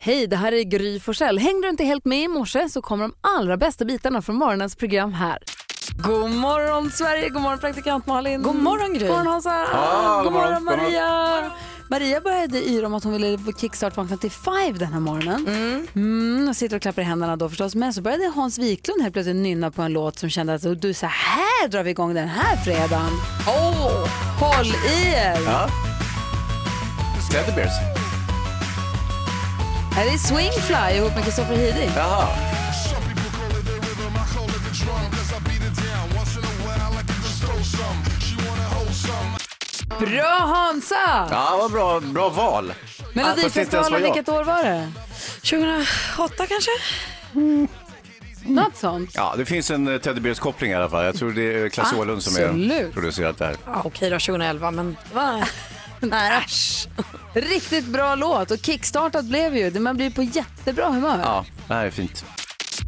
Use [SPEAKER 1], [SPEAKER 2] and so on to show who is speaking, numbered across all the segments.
[SPEAKER 1] Hej, det här är Gry Forssell. Hängde du inte helt med i morse så kommer de allra bästa bitarna från morgonens program här. God morgon Sverige, god morgon praktikant Malin.
[SPEAKER 2] God morgon, Gry.
[SPEAKER 1] God morgon Hansa.
[SPEAKER 3] Ah,
[SPEAKER 1] god
[SPEAKER 3] god morgon,
[SPEAKER 1] morgon Maria. Maria började yra om att hon ville kickstart-vakna till five den här morgonen. Mm. och sitter och klappar i händerna då förstås. Men så började Hans Wiklund helt plötsligt nynna på en låt som kände att du, så här drar vi igång den här fredagen. Oh, håll i er!
[SPEAKER 3] Ja. Släder Bears.
[SPEAKER 1] Här är Swingfly ihop med Kristoffer Hiding.
[SPEAKER 3] Jaha.
[SPEAKER 1] Bra Hansa!
[SPEAKER 3] Ja, vad bra, bra val. Fast inte ens vad
[SPEAKER 1] Melodifestivalen,
[SPEAKER 3] jag-
[SPEAKER 1] vilket år var det?
[SPEAKER 2] 2008 kanske?
[SPEAKER 3] Mm.
[SPEAKER 1] Något sånt?
[SPEAKER 3] Ja, det finns en eh, Teddy Bears koppling i alla fall. Jag tror det är Klasse Åhlund som är
[SPEAKER 1] Absolut.
[SPEAKER 3] producerat där.
[SPEAKER 2] Ja, okej då, 2011, men va? Nej, äsch.
[SPEAKER 1] Riktigt bra låt och kickstartat blev ju. Man blir på jättebra humör.
[SPEAKER 3] Ja, det här är fint.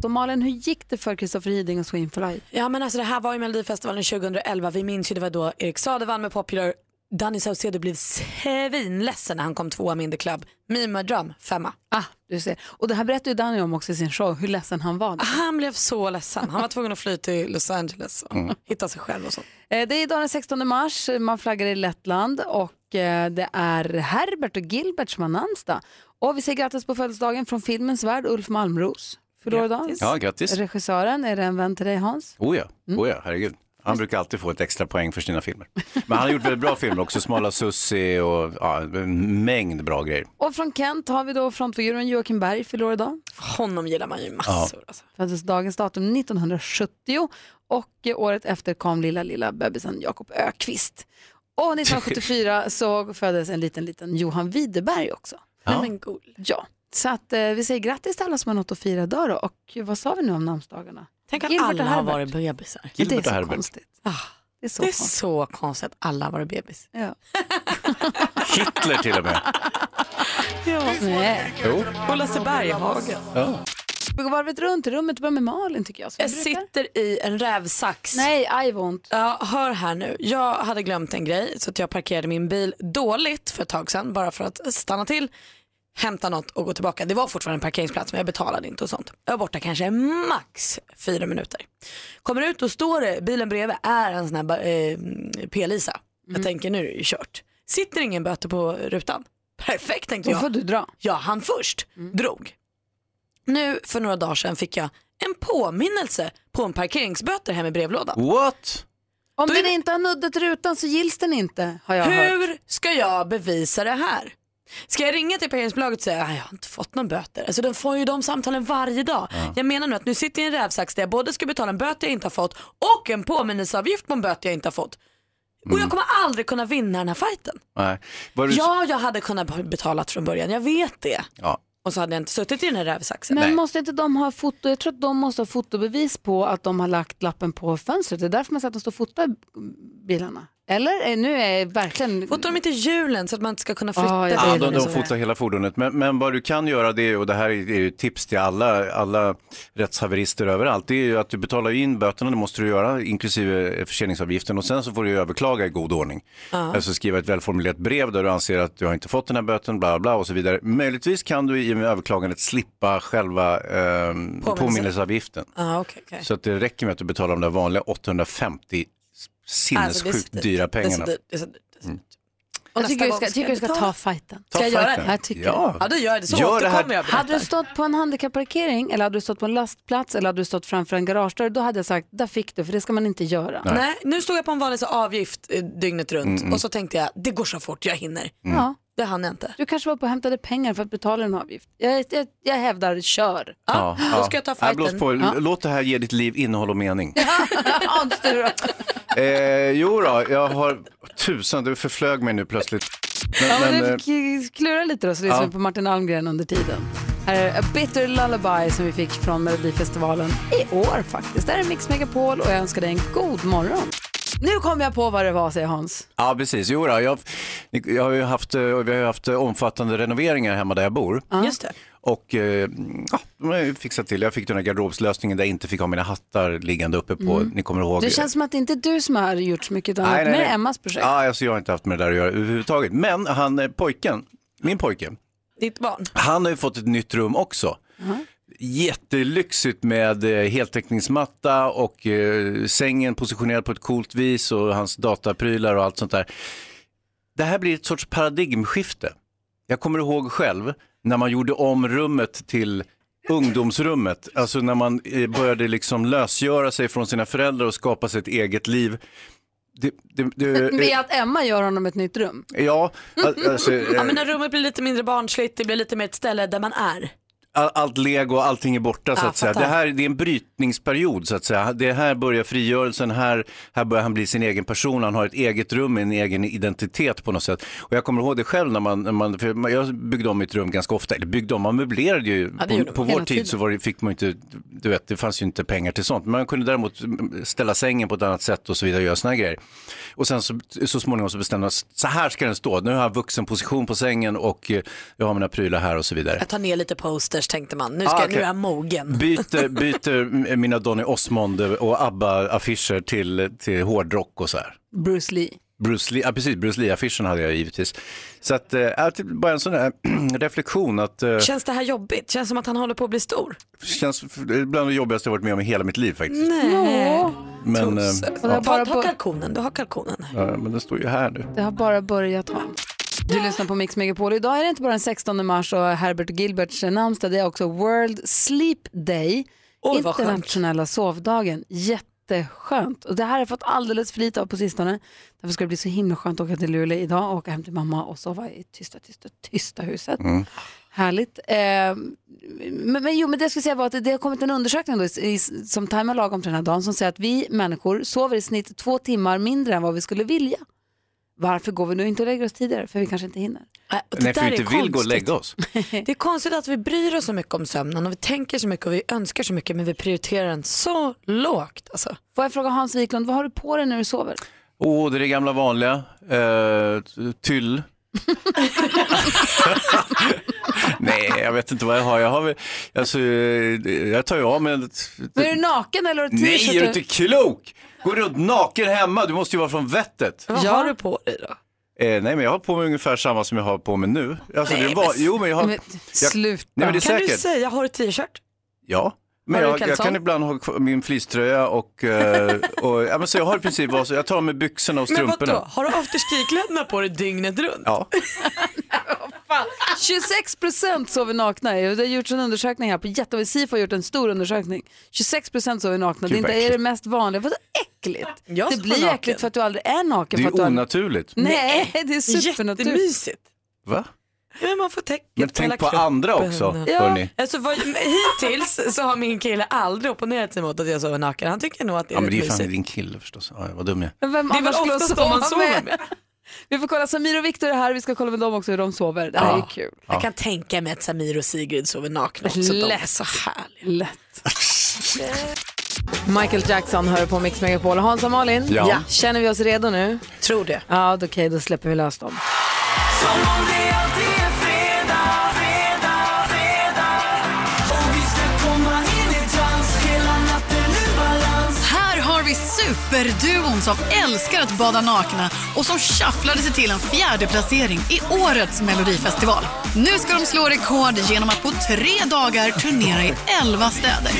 [SPEAKER 1] Så Malin, hur gick det för Kristoffer Hiding och Swingfly?
[SPEAKER 2] Ja, men alltså det här var ju Melodifestivalen 2011. Vi minns ju det var då Erik Saade vann med Popular. Danny Saucedo blev svinledsen när han kom tvåa med In The Club. Me My Drum, femma.
[SPEAKER 1] Ah, du ser. Och det här berättade ju Danny om också i sin show, hur ledsen han var.
[SPEAKER 2] Han blev så ledsen. Han var tvungen att fly till Los Angeles och
[SPEAKER 3] Mm.
[SPEAKER 2] hitta sig själv och så.
[SPEAKER 1] Eh, Det är idag den 16 mars, man flaggar i Lettland och eh, det är Herbert och Gilbert som har namnsdag. Och vi säger grattis på födelsedagen från filmens värld, Ulf Malmros. Fyller år idag.
[SPEAKER 2] Grattis.
[SPEAKER 3] Ja, grattis.
[SPEAKER 1] Regissören, är det en vän till dig Hans?
[SPEAKER 3] Oh ja, oh ja, herregud. Han brukar alltid få ett extra poäng för sina filmer. Men han har gjort väldigt bra filmer också. Smala Sussi och ja, en mängd bra grejer.
[SPEAKER 1] Och från Kent har vi då frontfiguren Joakim Berg, fyller år idag.
[SPEAKER 2] Honom gillar man ju massor. Alltså.
[SPEAKER 1] föddes dagens datum 1970 och eh, året efter kom lilla, lilla bebisen Jakob Ökvist. Och 1974 så föddes en liten, liten Johan Widerberg också.
[SPEAKER 2] Nej,
[SPEAKER 3] Ja.
[SPEAKER 2] men cool.
[SPEAKER 1] Ja, så att eh, vi säger grattis till alla som har något att fira idag då. Och vad sa vi nu om namnsdagarna?
[SPEAKER 2] Tänk att
[SPEAKER 1] Gilbert och
[SPEAKER 2] alla har
[SPEAKER 1] Herbert.
[SPEAKER 2] varit bebisar.
[SPEAKER 1] Men
[SPEAKER 3] Gilbert
[SPEAKER 1] det
[SPEAKER 3] och
[SPEAKER 1] är så
[SPEAKER 3] Herbert.
[SPEAKER 1] konstigt.
[SPEAKER 2] Ah,
[SPEAKER 1] Det är så
[SPEAKER 2] det är
[SPEAKER 1] konstigt.
[SPEAKER 2] så konstigt att alla har varit bebis.
[SPEAKER 1] Ja.
[SPEAKER 3] Hitler till och med.
[SPEAKER 1] Nej.
[SPEAKER 3] Jo.
[SPEAKER 2] Och Lasse Berghagen.
[SPEAKER 3] Ja.
[SPEAKER 1] Vi går varvet runt i rummet och börjar med Malin tycker jag. Som
[SPEAKER 2] Jag
[SPEAKER 1] vi brukar.
[SPEAKER 2] sitter i en rävsax.
[SPEAKER 1] Nej, aj vad ont.
[SPEAKER 2] Ja, hör här nu. Jag hade glömt en grej så att jag parkerade min bil dåligt för ett tag sedan bara för att stanna till, hämta något och gå tillbaka. Det var fortfarande en parkeringsplats men jag betalade inte och sånt. Jag var borta kanske max fyra minuter. Kommer ut och står det, bilen bredvid är en sån här ba- eh, P-Lisa.
[SPEAKER 1] Mm.
[SPEAKER 2] Jag tänker nu är det ju kört. Sitter ingen böter på rutan? Perfekt tänkte
[SPEAKER 1] Då
[SPEAKER 2] jag.
[SPEAKER 1] får du dra.
[SPEAKER 2] Jag hann först, drog. Nu för några dagar sedan fick jag en påminnelse på en parkeringsböter hem i brevlådan.
[SPEAKER 3] What?
[SPEAKER 1] Om
[SPEAKER 2] Då är
[SPEAKER 1] den
[SPEAKER 2] det-
[SPEAKER 1] inte har nuddat rutan så gills den inte har jag hört.
[SPEAKER 2] Hur ska jag bevisa det här? Ska jag ringa till parkeringsbolaget och säga att jag har inte fått någon böter? Alltså de får ju de samtalen varje dag. Jag menar nu att nu sitter jag i en rävsax där jag både ska betala en böter jag inte har fått och en påminnelseavgift på en böter jag inte har fått. Och jag kommer aldrig kunna vinna den här fighten.
[SPEAKER 3] Nej. Var du...
[SPEAKER 2] Ja, jag hade kunnat betala från början, jag vet det.
[SPEAKER 3] ja.
[SPEAKER 2] Och så hade jag inte suttit i den här rävsaxen.
[SPEAKER 1] Men
[SPEAKER 3] Nej.
[SPEAKER 1] måste inte de ha foto? Jag tror att de måste ha fotobevis på att de har lagt lappen på fönstret. Det är därför man säger att de står och fotar bilarna. Eller? Eh, Nu är jag verkligen...
[SPEAKER 2] Fotar de inte hjulen så att man inte ska kunna flytta
[SPEAKER 1] Ja, jag
[SPEAKER 3] Ja,
[SPEAKER 1] vet.
[SPEAKER 2] bilen?
[SPEAKER 3] de, de
[SPEAKER 1] Eller så.
[SPEAKER 3] fotar hela fordonet. Men, men vad du kan göra, det är, ju- och det här är ju tips till alla, alla rättshaverister överallt, det är ju att du betalar in böterna, det måste du göra, inklusive förseningsavgiften. Och sen så får du ju överklaga i god ordning. Alltså skriva ett välformulerat brev där du anser att du har inte fått den här böten, bla bla och så vidare. Möjligtvis kan du i och med överklagandet slippa själva ehm, påminnelseavgiften.
[SPEAKER 2] Ah, okay, okay.
[SPEAKER 3] Så att det räcker med att du betalar de där vanliga 850
[SPEAKER 2] Alltså, det är så
[SPEAKER 3] sinnessjukt
[SPEAKER 2] dyrt.
[SPEAKER 3] dyra
[SPEAKER 2] Det är så
[SPEAKER 3] pengarna.
[SPEAKER 2] dyrt, det är så dyrt, det är så dyrt. Och
[SPEAKER 1] Jag
[SPEAKER 2] nästa
[SPEAKER 1] tycker du
[SPEAKER 2] gång
[SPEAKER 1] ska, tycker du ska ta fighten.
[SPEAKER 3] Ta
[SPEAKER 2] Ska jag göra
[SPEAKER 3] fighten.
[SPEAKER 1] det? Jag tycker
[SPEAKER 3] ja.
[SPEAKER 2] Ja, då gör jag det. Så
[SPEAKER 3] Gör det här-
[SPEAKER 2] återkommer jag. berättar.
[SPEAKER 1] Hade du stått på en handikapparkering eller hade du stått på en lastplats eller hade du stått framför en garagedörr, då hade jag sagt, där fick du, för det ska man inte göra.
[SPEAKER 2] Nej, nu stod jag på en vanlig så avgift eh, dygnet
[SPEAKER 3] Mm,
[SPEAKER 2] runt och så tänkte jag det går så fort, jag hinner.
[SPEAKER 1] Ja,
[SPEAKER 2] Det hann jag inte.
[SPEAKER 1] du kanske var på och hämtade pengar för att betala en avgift. Jag, jag, jag hävdar, kör.
[SPEAKER 2] Ja, då ska jag ta
[SPEAKER 3] Nej, blås
[SPEAKER 2] fighten.
[SPEAKER 3] på. Låt det här ge ditt liv innehåll och mening.
[SPEAKER 1] Hans, du då?
[SPEAKER 3] eh, jo då, jag har... Tusan, du förflög mig nu plötsligt. Men,
[SPEAKER 1] Ja, men
[SPEAKER 3] men,
[SPEAKER 1] du
[SPEAKER 3] eh,
[SPEAKER 1] fick klura lite då så lyssnar vi
[SPEAKER 3] ja.
[SPEAKER 1] på Martin Almgren under tiden. Här är A Bitter Lullaby som vi fick från Melodifestivalen i år faktiskt. Det här är Mix Megapol och jag önskar dig en god morgon. Nu kom jag på vad det var, säger Hans.
[SPEAKER 3] ja, precis. Jo då, jag, jag har ju haft, eh, vi har ju haft eh, omfattande renoveringar hemma där jag bor.
[SPEAKER 2] Just det.
[SPEAKER 3] Och eh, ja, de har ju fixat till. Jag fick den här garderobslösningen där jag inte fick ha mina hattar liggande uppe på,
[SPEAKER 2] Mm.
[SPEAKER 3] ni kommer ihåg.
[SPEAKER 1] Det känns som att det inte är du som har gjort så mycket utan att det är Emmas projekt.
[SPEAKER 3] Ja, alltså, jag har inte haft med det där att göra överhuvudtaget. Men han, eh, pojken, min pojke,
[SPEAKER 2] ditt barn?
[SPEAKER 3] Han har ju fått ett nytt rum också.
[SPEAKER 4] Uh-huh.
[SPEAKER 3] Jättelyxigt med eh, heltäckningsmatta och eh, sängen positionerad på ett coolt vis och hans dataprylar och allt sånt där. Det här blir ett sorts paradigmskifte. Jag kommer ihåg själv när man gjorde om rummet till ungdomsrummet, alltså när man eh, började liksom lösgöra sig från sina föräldrar och skapa sig ett eget liv. Det, det, det, eh,
[SPEAKER 1] Med att Emma gör honom ett nytt rum.
[SPEAKER 3] ja, Eh, al- alltså,
[SPEAKER 2] Ja,
[SPEAKER 3] eh,
[SPEAKER 2] men när rummet blir lite mindre barnsligt, det blir lite mer ett ställe där man är.
[SPEAKER 3] all, allt lego och allting är borta så
[SPEAKER 2] Ja,
[SPEAKER 3] att säga. Det
[SPEAKER 2] fattar.
[SPEAKER 3] här det är en brytningsperiod så att säga. Det här börjar frigörelsen, här, här börjar han bli sin egen person, han har ett eget rum, en egen identitet på något sätt. Och jag kommer ihåg det själv när man, när man för man- jag byggde om mitt rum ganska ofta, eller byggde om, man möblerade ju.
[SPEAKER 2] Ja, det gjorde
[SPEAKER 3] på på
[SPEAKER 2] man.
[SPEAKER 3] vår
[SPEAKER 1] Hela
[SPEAKER 3] tid
[SPEAKER 1] tiden.
[SPEAKER 3] så var det, fick man ju inte, du vet, det fanns ju inte pengar till sånt. Men man kunde däremot ställa sängen på ett annat sätt och så vidare, göra såna här grejer. Och sen så, så småningom så bestämde man, så här ska den stå, nu har jag vuxen position på sängen och eh, jag har mina prylar här och så vidare.
[SPEAKER 2] Jag tar ner lite posters tänkte man, nu, ska,
[SPEAKER 3] Ah, okej.
[SPEAKER 2] nu är jag mogen.
[SPEAKER 3] Byter, byter mina Donny Osmond och ABBA-affischer till, till hårdrock och så här.
[SPEAKER 1] Bruce Lee.
[SPEAKER 3] Bruce Lee, ja, precis, Bruce Lee-affischen hade jag givetvis. Så att, eh, ja, typ bara en sån där reflektion att eh,
[SPEAKER 2] Känns det här jobbigt? Känns som att han håller på att bli stor?
[SPEAKER 3] känns bland det jobbigaste jag varit med om i hela mitt liv faktiskt.
[SPEAKER 1] Ja.
[SPEAKER 3] Men, eh,
[SPEAKER 2] Ta,
[SPEAKER 3] ja,
[SPEAKER 1] bara
[SPEAKER 2] ta,
[SPEAKER 1] på-
[SPEAKER 2] kalkonen, du har kalkonen.
[SPEAKER 3] ja, men den står ju här nu.
[SPEAKER 1] Det har bara börjat ha. Du lyssnar på Mix Megapol. Idag är det inte bara den 16 mars och Herbert Gilberts namnsdag. Det är också World Sleep Day.
[SPEAKER 2] Oj, vad skönt.
[SPEAKER 1] internationella sovdagen. Jätteskönt. Och det här har jag fått alldeles för lite av på sistone. Därför ska det bli så himla skönt att åka till Luleå idag och åka hem till mamma och sova i tysta, tysta, tysta huset. Härligt. Eh, men, men, jo, men det jag skulle säga var att det har kommit en undersökning då, i, i, som tajmar lagom till den här dagen som säger att vi människor sover i snitt två timmar mindre än vad vi skulle vilja. Varför går vi nu inte och lägger oss tidigare? För vi kanske inte hinner.
[SPEAKER 2] Äh, och det
[SPEAKER 3] Nej, för
[SPEAKER 2] där
[SPEAKER 3] vi
[SPEAKER 2] är
[SPEAKER 3] inte vill gå och
[SPEAKER 2] konstigt.
[SPEAKER 3] lägga oss.
[SPEAKER 2] Det är konstigt att vi bryr oss så mycket om sömnen och vi tänker så mycket och vi önskar så mycket men vi prioriterar den så lågt. Alltså.
[SPEAKER 1] Får jag fråga Hans Wiklund, vad har du på dig när du sover?
[SPEAKER 3] Åh, det är det gamla vanliga. Eh, t- tyll. Nej, jag vet inte vad jag har. Jag, har väl, alltså, eh, jag tar ju av mig
[SPEAKER 1] Men är du naken eller har du t-shirt?
[SPEAKER 3] Nej, är du inte klok? Går du runt naken hemma? Du måste ju vara från vettet.
[SPEAKER 2] Vad
[SPEAKER 1] Ja.
[SPEAKER 2] har du på dig då?
[SPEAKER 3] Eh, nej, men jag har på mig ungefär samma som jag har på mig nu. Alltså, det var, jo, men jag har...
[SPEAKER 1] Men,
[SPEAKER 3] jag, nej,
[SPEAKER 1] Sluta.
[SPEAKER 3] men det är
[SPEAKER 2] Kan du
[SPEAKER 3] säkert.
[SPEAKER 2] säga, har du t-shirt?
[SPEAKER 3] Ja. Men
[SPEAKER 2] Har du
[SPEAKER 3] jag, jag
[SPEAKER 2] kalsong?
[SPEAKER 3] kan ibland ha kvar min fleecetröja och, eh, och ja, men så jag har i princip vad så jag tar med byxorna och
[SPEAKER 2] Men
[SPEAKER 3] strumporna.
[SPEAKER 2] vadå, har du afterski-kläderna på dig dygnet runt?
[SPEAKER 3] Ja.
[SPEAKER 1] 26 procent sover nakna. Det har gjorts en undersökning här på jätte... Sifo har gjort en stor undersökning. 26 procent sover nakna. Det är
[SPEAKER 3] Gud, vad
[SPEAKER 1] inte är det
[SPEAKER 3] äckligt.
[SPEAKER 1] mest vanliga. Vadå äckligt?
[SPEAKER 2] Jag
[SPEAKER 1] det
[SPEAKER 2] sover
[SPEAKER 1] blir
[SPEAKER 2] naken.
[SPEAKER 1] äckligt för att du aldrig är naken.
[SPEAKER 3] Det
[SPEAKER 1] för
[SPEAKER 3] är
[SPEAKER 1] att du aldrig...
[SPEAKER 3] onaturligt.
[SPEAKER 2] Mm.
[SPEAKER 1] Nej, det är supernaturligt.
[SPEAKER 2] Jättemysigt.
[SPEAKER 3] Va?
[SPEAKER 2] Men man får täcket
[SPEAKER 3] Men
[SPEAKER 2] hela
[SPEAKER 3] tänk på
[SPEAKER 2] kroppen.
[SPEAKER 3] andra också,
[SPEAKER 1] Ja.
[SPEAKER 3] hörni.
[SPEAKER 2] Alltså, vad, hittills så har min kille aldrig opponerat sig mot att jag sover naken. Han tycker nog att det är
[SPEAKER 3] Ja, men det är
[SPEAKER 2] rätt
[SPEAKER 3] ju fan
[SPEAKER 2] mysigt.
[SPEAKER 3] din kille förstås. Ja, vad dum jag är.
[SPEAKER 1] Men Vem
[SPEAKER 2] Det är väl
[SPEAKER 1] annars skulle
[SPEAKER 2] oftast
[SPEAKER 1] sova
[SPEAKER 2] de man sover
[SPEAKER 1] med?
[SPEAKER 2] med.
[SPEAKER 1] Vi får kolla, Samir och Viktor är här. Vi ska kolla med dem också hur de sover. Det här är kul.
[SPEAKER 2] Jag kan tänka mig att Samir och Sigrid sover nakna också. De är
[SPEAKER 1] Lätt.
[SPEAKER 2] så härliga.
[SPEAKER 1] Lätt. Michael Jackson hör på Mix Megapol. Hans och Malin,
[SPEAKER 3] Ja. Ja.
[SPEAKER 1] känner vi oss redo nu?
[SPEAKER 2] Tror det.
[SPEAKER 1] Ja, okej, då släpper vi lös dem.
[SPEAKER 5] Här har vi superduon som älskar att bada nakna och som shufflade sig till en fjärde placering i årets Melodifestival. Nu ska de slå rekord genom att på tre dagar turnera i elva städer.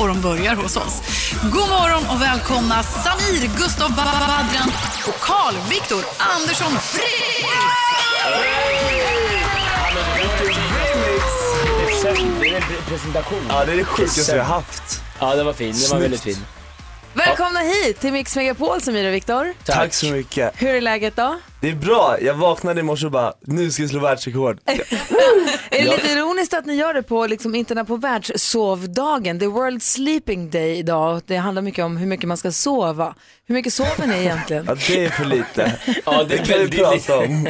[SPEAKER 5] Och de börjar hos oss. God morgon och välkomna Samir, Gustav Ba- Ba- Badran och Carl Viktor Andersson Friis!
[SPEAKER 6] Det är en presentation. Ja, det är det sjukaste vi har haft. Ja, den var fin. Den var väldigt fin.
[SPEAKER 1] Välkomna hit till Mix Megapol, Samir och Viktor.
[SPEAKER 6] Tack.
[SPEAKER 7] Tack så mycket.
[SPEAKER 1] Hur är läget då?
[SPEAKER 7] Det är bra, jag vaknade i morse och bara, nu ska jag slå världsrekord.
[SPEAKER 1] Är det lite ironiskt att ni gör det på, liksom, interna på världssovdagen? Det är World Sleeping Day idag och det handlar mycket om hur mycket man ska sova. Hur mycket sover ni egentligen?
[SPEAKER 7] Ja, det är för lite.
[SPEAKER 6] Ja,
[SPEAKER 7] Det
[SPEAKER 6] det
[SPEAKER 7] kan
[SPEAKER 6] är
[SPEAKER 7] vi
[SPEAKER 6] väldigt
[SPEAKER 7] prata om.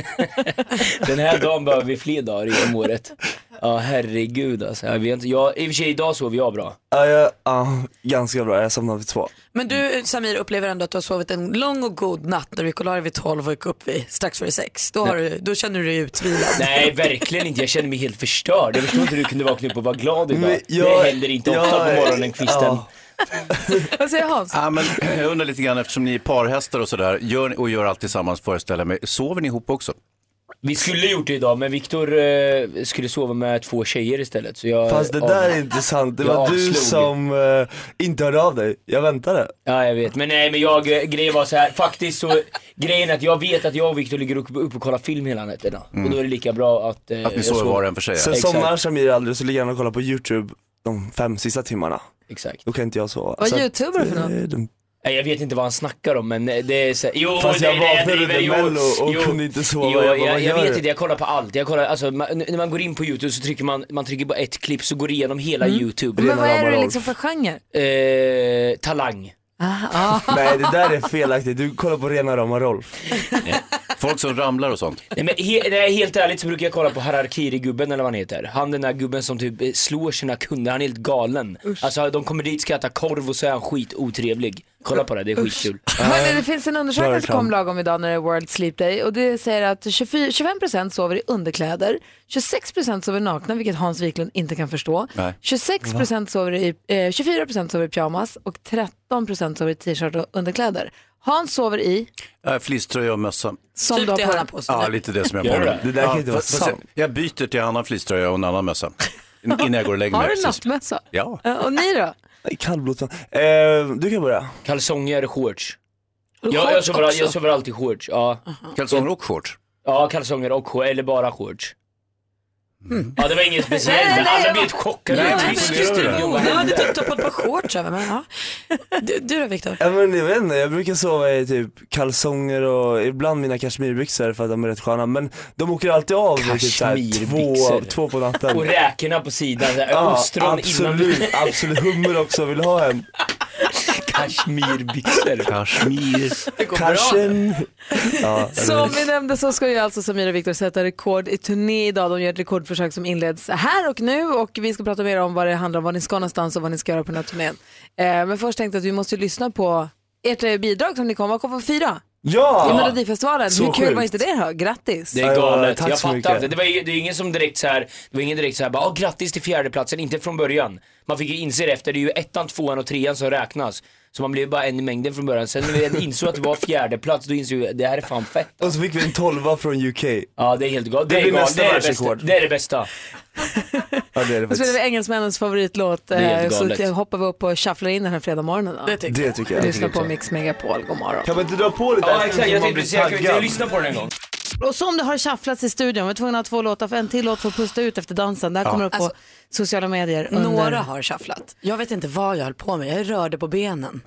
[SPEAKER 6] Den här dagen behöver vi fler dagar om året. Ja, herregud alltså. Jag vet inte. Jag, I och för sig, idag sover jag bra.
[SPEAKER 7] Ja, jag, ja, ganska bra, jag somnade vid två.
[SPEAKER 2] Men du Samir upplever ändå att du har sovit en lång och god natt när du gick och la dig vid 12 och gick upp vid strax före 6. Då, har du, då känner du dig utvilad.
[SPEAKER 6] Nej, verkligen inte. Jag känner mig helt förstörd. Jag förstår inte hur du kunde vakna upp och vara glad idag.
[SPEAKER 7] Men jag-
[SPEAKER 6] det händer inte ofta
[SPEAKER 7] jag-
[SPEAKER 6] på morgonen, kvisten.
[SPEAKER 7] ja.
[SPEAKER 1] Vad säger Hans?
[SPEAKER 3] Ja, men jag undrar lite grann eftersom ni är parhästar och sådär gör, ni- och gör allt tillsammans föreställer jag mig. Sover ni ihop också?
[SPEAKER 6] Vi skulle gjort det idag men Viktor eh, skulle sova med två tjejer istället. Så jag,
[SPEAKER 7] Fast det
[SPEAKER 6] av-
[SPEAKER 7] där är inte sant, det
[SPEAKER 6] Jag
[SPEAKER 7] var du
[SPEAKER 6] avslog.
[SPEAKER 7] som eh, inte hörde av dig. Jag väntade.
[SPEAKER 6] Ja jag vet, men nej men jag, eh, grejen var så här. faktiskt så, grejen är att jag vet att jag och Viktor ligger uppe upp och kollar film hela nätterna.
[SPEAKER 7] Mm.
[SPEAKER 6] Och då är det lika bra att... eh,
[SPEAKER 3] Att ni
[SPEAKER 6] jag
[SPEAKER 3] sover var och en för sig.
[SPEAKER 7] Sen
[SPEAKER 6] Exakt.
[SPEAKER 7] somnar Samir aldrig så ligger han och kollar på youtube de fem sista timmarna.
[SPEAKER 6] Exakt.
[SPEAKER 7] Då kan inte jag sova.
[SPEAKER 8] Vad
[SPEAKER 7] Så att,
[SPEAKER 8] youtuber för något?
[SPEAKER 7] eh, de-
[SPEAKER 6] Nej, jag vet inte vad han snackar om men eh, det är så här, Jo
[SPEAKER 7] Fast jag
[SPEAKER 6] nej, nej,
[SPEAKER 7] vaknade
[SPEAKER 6] driver,
[SPEAKER 7] under
[SPEAKER 6] jo,
[SPEAKER 7] Mello och
[SPEAKER 6] jo.
[SPEAKER 7] kunde inte sova.
[SPEAKER 6] Jo,
[SPEAKER 7] Jag
[SPEAKER 6] jag,
[SPEAKER 7] bara, vad
[SPEAKER 6] jag,
[SPEAKER 7] gör
[SPEAKER 6] vet
[SPEAKER 7] du?
[SPEAKER 6] inte, jag kollar på allt. Jag kollar, alltså, man, när man går in på youtube så trycker man, man trycker på ett klipp så går det igenom hela youtube.
[SPEAKER 7] Rena
[SPEAKER 1] Mm. Men vad är
[SPEAKER 7] rama
[SPEAKER 1] det
[SPEAKER 7] Rolf.
[SPEAKER 1] liksom för genre?
[SPEAKER 6] Eh, talang.
[SPEAKER 7] Nej det där är felaktigt, du kollar på rena rama Rolf.
[SPEAKER 3] Folk som ramlar och sånt.
[SPEAKER 6] Nej, men he, nej, helt ärligt så brukar jag kolla på Harakiri-gubben eller vad han heter. Han den där gubben som typ eh, slår sina kunder, han är helt galen. Alltså de kommer dit, ska äta korv och så är han skitotrevlig. Kolla på det, det är skitkul.
[SPEAKER 1] Hörrni, det finns en undersökning som
[SPEAKER 7] reklam.
[SPEAKER 1] kom lagom idag när det är World Sleep Day och det säger att 24, 25% sover i underkläder, 26% sover nakna, vilket Hans Wiklund inte kan förstå,
[SPEAKER 3] Nej.
[SPEAKER 1] 26% sover i, eh, 24% sover i pyjamas och 13% sover i t-shirt och underkläder. Hans sover i,
[SPEAKER 3] Äh, fleecetröja och mössa.
[SPEAKER 1] som
[SPEAKER 2] Typ
[SPEAKER 1] du har på
[SPEAKER 2] det han har
[SPEAKER 1] dig.
[SPEAKER 2] på sig.
[SPEAKER 3] Ja,
[SPEAKER 2] nu.
[SPEAKER 3] lite det som jag
[SPEAKER 6] Gör
[SPEAKER 3] på
[SPEAKER 6] det?
[SPEAKER 3] mig.
[SPEAKER 7] Det där kan
[SPEAKER 3] Ja,
[SPEAKER 7] inte vara
[SPEAKER 3] fast- fast jag-
[SPEAKER 7] sant.
[SPEAKER 3] Jag byter till en annan fleecetröja och en annan mössa. In- Innan jag går och lägger mig.
[SPEAKER 1] Har du
[SPEAKER 3] precis.
[SPEAKER 1] nattmössa?
[SPEAKER 3] Ja.
[SPEAKER 1] Ja, Och ni då?
[SPEAKER 7] Nej, Kallblodsman. Eh, du kan börja.
[SPEAKER 6] Kalsonger, shorts. Jag, jag, sover, jag sover alltid i shorts, ja.
[SPEAKER 3] Kalsonger och shorts.
[SPEAKER 6] Ja, kalsonger och shorts, eller bara shorts. Ja, det var inget speciellt, men alla blev chockade.
[SPEAKER 3] Nej,
[SPEAKER 6] när jag
[SPEAKER 3] nej,
[SPEAKER 6] tyckte
[SPEAKER 3] nej,
[SPEAKER 6] det.
[SPEAKER 3] nej, nej.
[SPEAKER 6] Jag bara,
[SPEAKER 2] Jag hade typ tappat på shorts över mig. Ja. Du, du då Viktor?
[SPEAKER 7] Ja, men jag vet inte, jag brukar sova i typ kalsonger och ibland mina kashmirbyxor för att de är rätt sköna men de åker alltid av vid typ såhär två,
[SPEAKER 6] Kashmirbyxor.
[SPEAKER 7] två på natten.
[SPEAKER 6] Och räkorna på sidan, så här, ostron
[SPEAKER 7] absolut,
[SPEAKER 6] innan
[SPEAKER 7] absolut. Hummer också, vill ha en.
[SPEAKER 6] kashmirbyxor.
[SPEAKER 3] Kashmir.
[SPEAKER 7] Cashen. Ja,
[SPEAKER 1] Som vi nämnde så ska ju alltså Samir och Viktor sätta rekord i turné idag. De gör ett rekordförsök som inleds här och nu och vi ska prata mer om vad det handlar om, var ni ska någonstans och vad ni ska göra på den här turnén. Eh, men först tänkte jag att vi måste lyssna på ert eh, bidrag som ni kom, vad kom på fyra i
[SPEAKER 7] ja.
[SPEAKER 1] Melodifestivalen.
[SPEAKER 7] så
[SPEAKER 1] Hur kul var
[SPEAKER 7] sjukt.
[SPEAKER 1] inte det då? Grattis!
[SPEAKER 6] Det
[SPEAKER 7] Ja,
[SPEAKER 6] är
[SPEAKER 7] ja,
[SPEAKER 6] galet,
[SPEAKER 7] tack
[SPEAKER 6] jag
[SPEAKER 7] så
[SPEAKER 6] fattar
[SPEAKER 7] mycket.
[SPEAKER 6] inte. Det var, ju- det är ingen som direkt så här, det var ingen direkt så här, bara, "Åh, grattis till fjärdeplatsen, inte från början. Man fick ju inse det efter, det är ju ettan, tvåan och trean som räknas. Så man blev ju bara en i mängden från början. Sen när vi insåg att det var fjärdeplats, då insåg vi det här är fan fett.
[SPEAKER 7] Och så fick vi en tolva från UK.
[SPEAKER 6] Ja det är helt galet.
[SPEAKER 7] Det
[SPEAKER 6] Det, är
[SPEAKER 7] blir
[SPEAKER 6] galet.
[SPEAKER 7] nästa
[SPEAKER 6] Det, är det, bästa.
[SPEAKER 7] världsrekord.
[SPEAKER 6] det är det bästa.
[SPEAKER 7] Ja, det är
[SPEAKER 1] Då
[SPEAKER 7] det
[SPEAKER 1] spelar vi
[SPEAKER 7] faktiskt.
[SPEAKER 1] engelsmännens favoritlåt
[SPEAKER 6] är helt
[SPEAKER 1] eh, så
[SPEAKER 6] galet.
[SPEAKER 1] det hoppar vi upp och shufflar in den här fredagmorgonen. då.
[SPEAKER 7] Det tycker jag.
[SPEAKER 1] Lyssna på Mix Megapol, god morgon.
[SPEAKER 7] Kan man inte dra på det där
[SPEAKER 6] Ja exakt,
[SPEAKER 7] så
[SPEAKER 6] jag
[SPEAKER 7] man
[SPEAKER 6] tänkte
[SPEAKER 7] blir
[SPEAKER 6] precis, jag kan ju inte
[SPEAKER 7] taggad?
[SPEAKER 6] lyssna på den en gång.
[SPEAKER 1] Och som det har shufflats i studion, vi är tvungna att ha två låtar, för en till låt för att pusta ut efter dansen. Det här kommer upp på
[SPEAKER 2] Alltså,
[SPEAKER 1] sociala medier. Under...
[SPEAKER 2] Några har shufflat. Jag vet inte vad jag höll på med. Jag rörde på benen.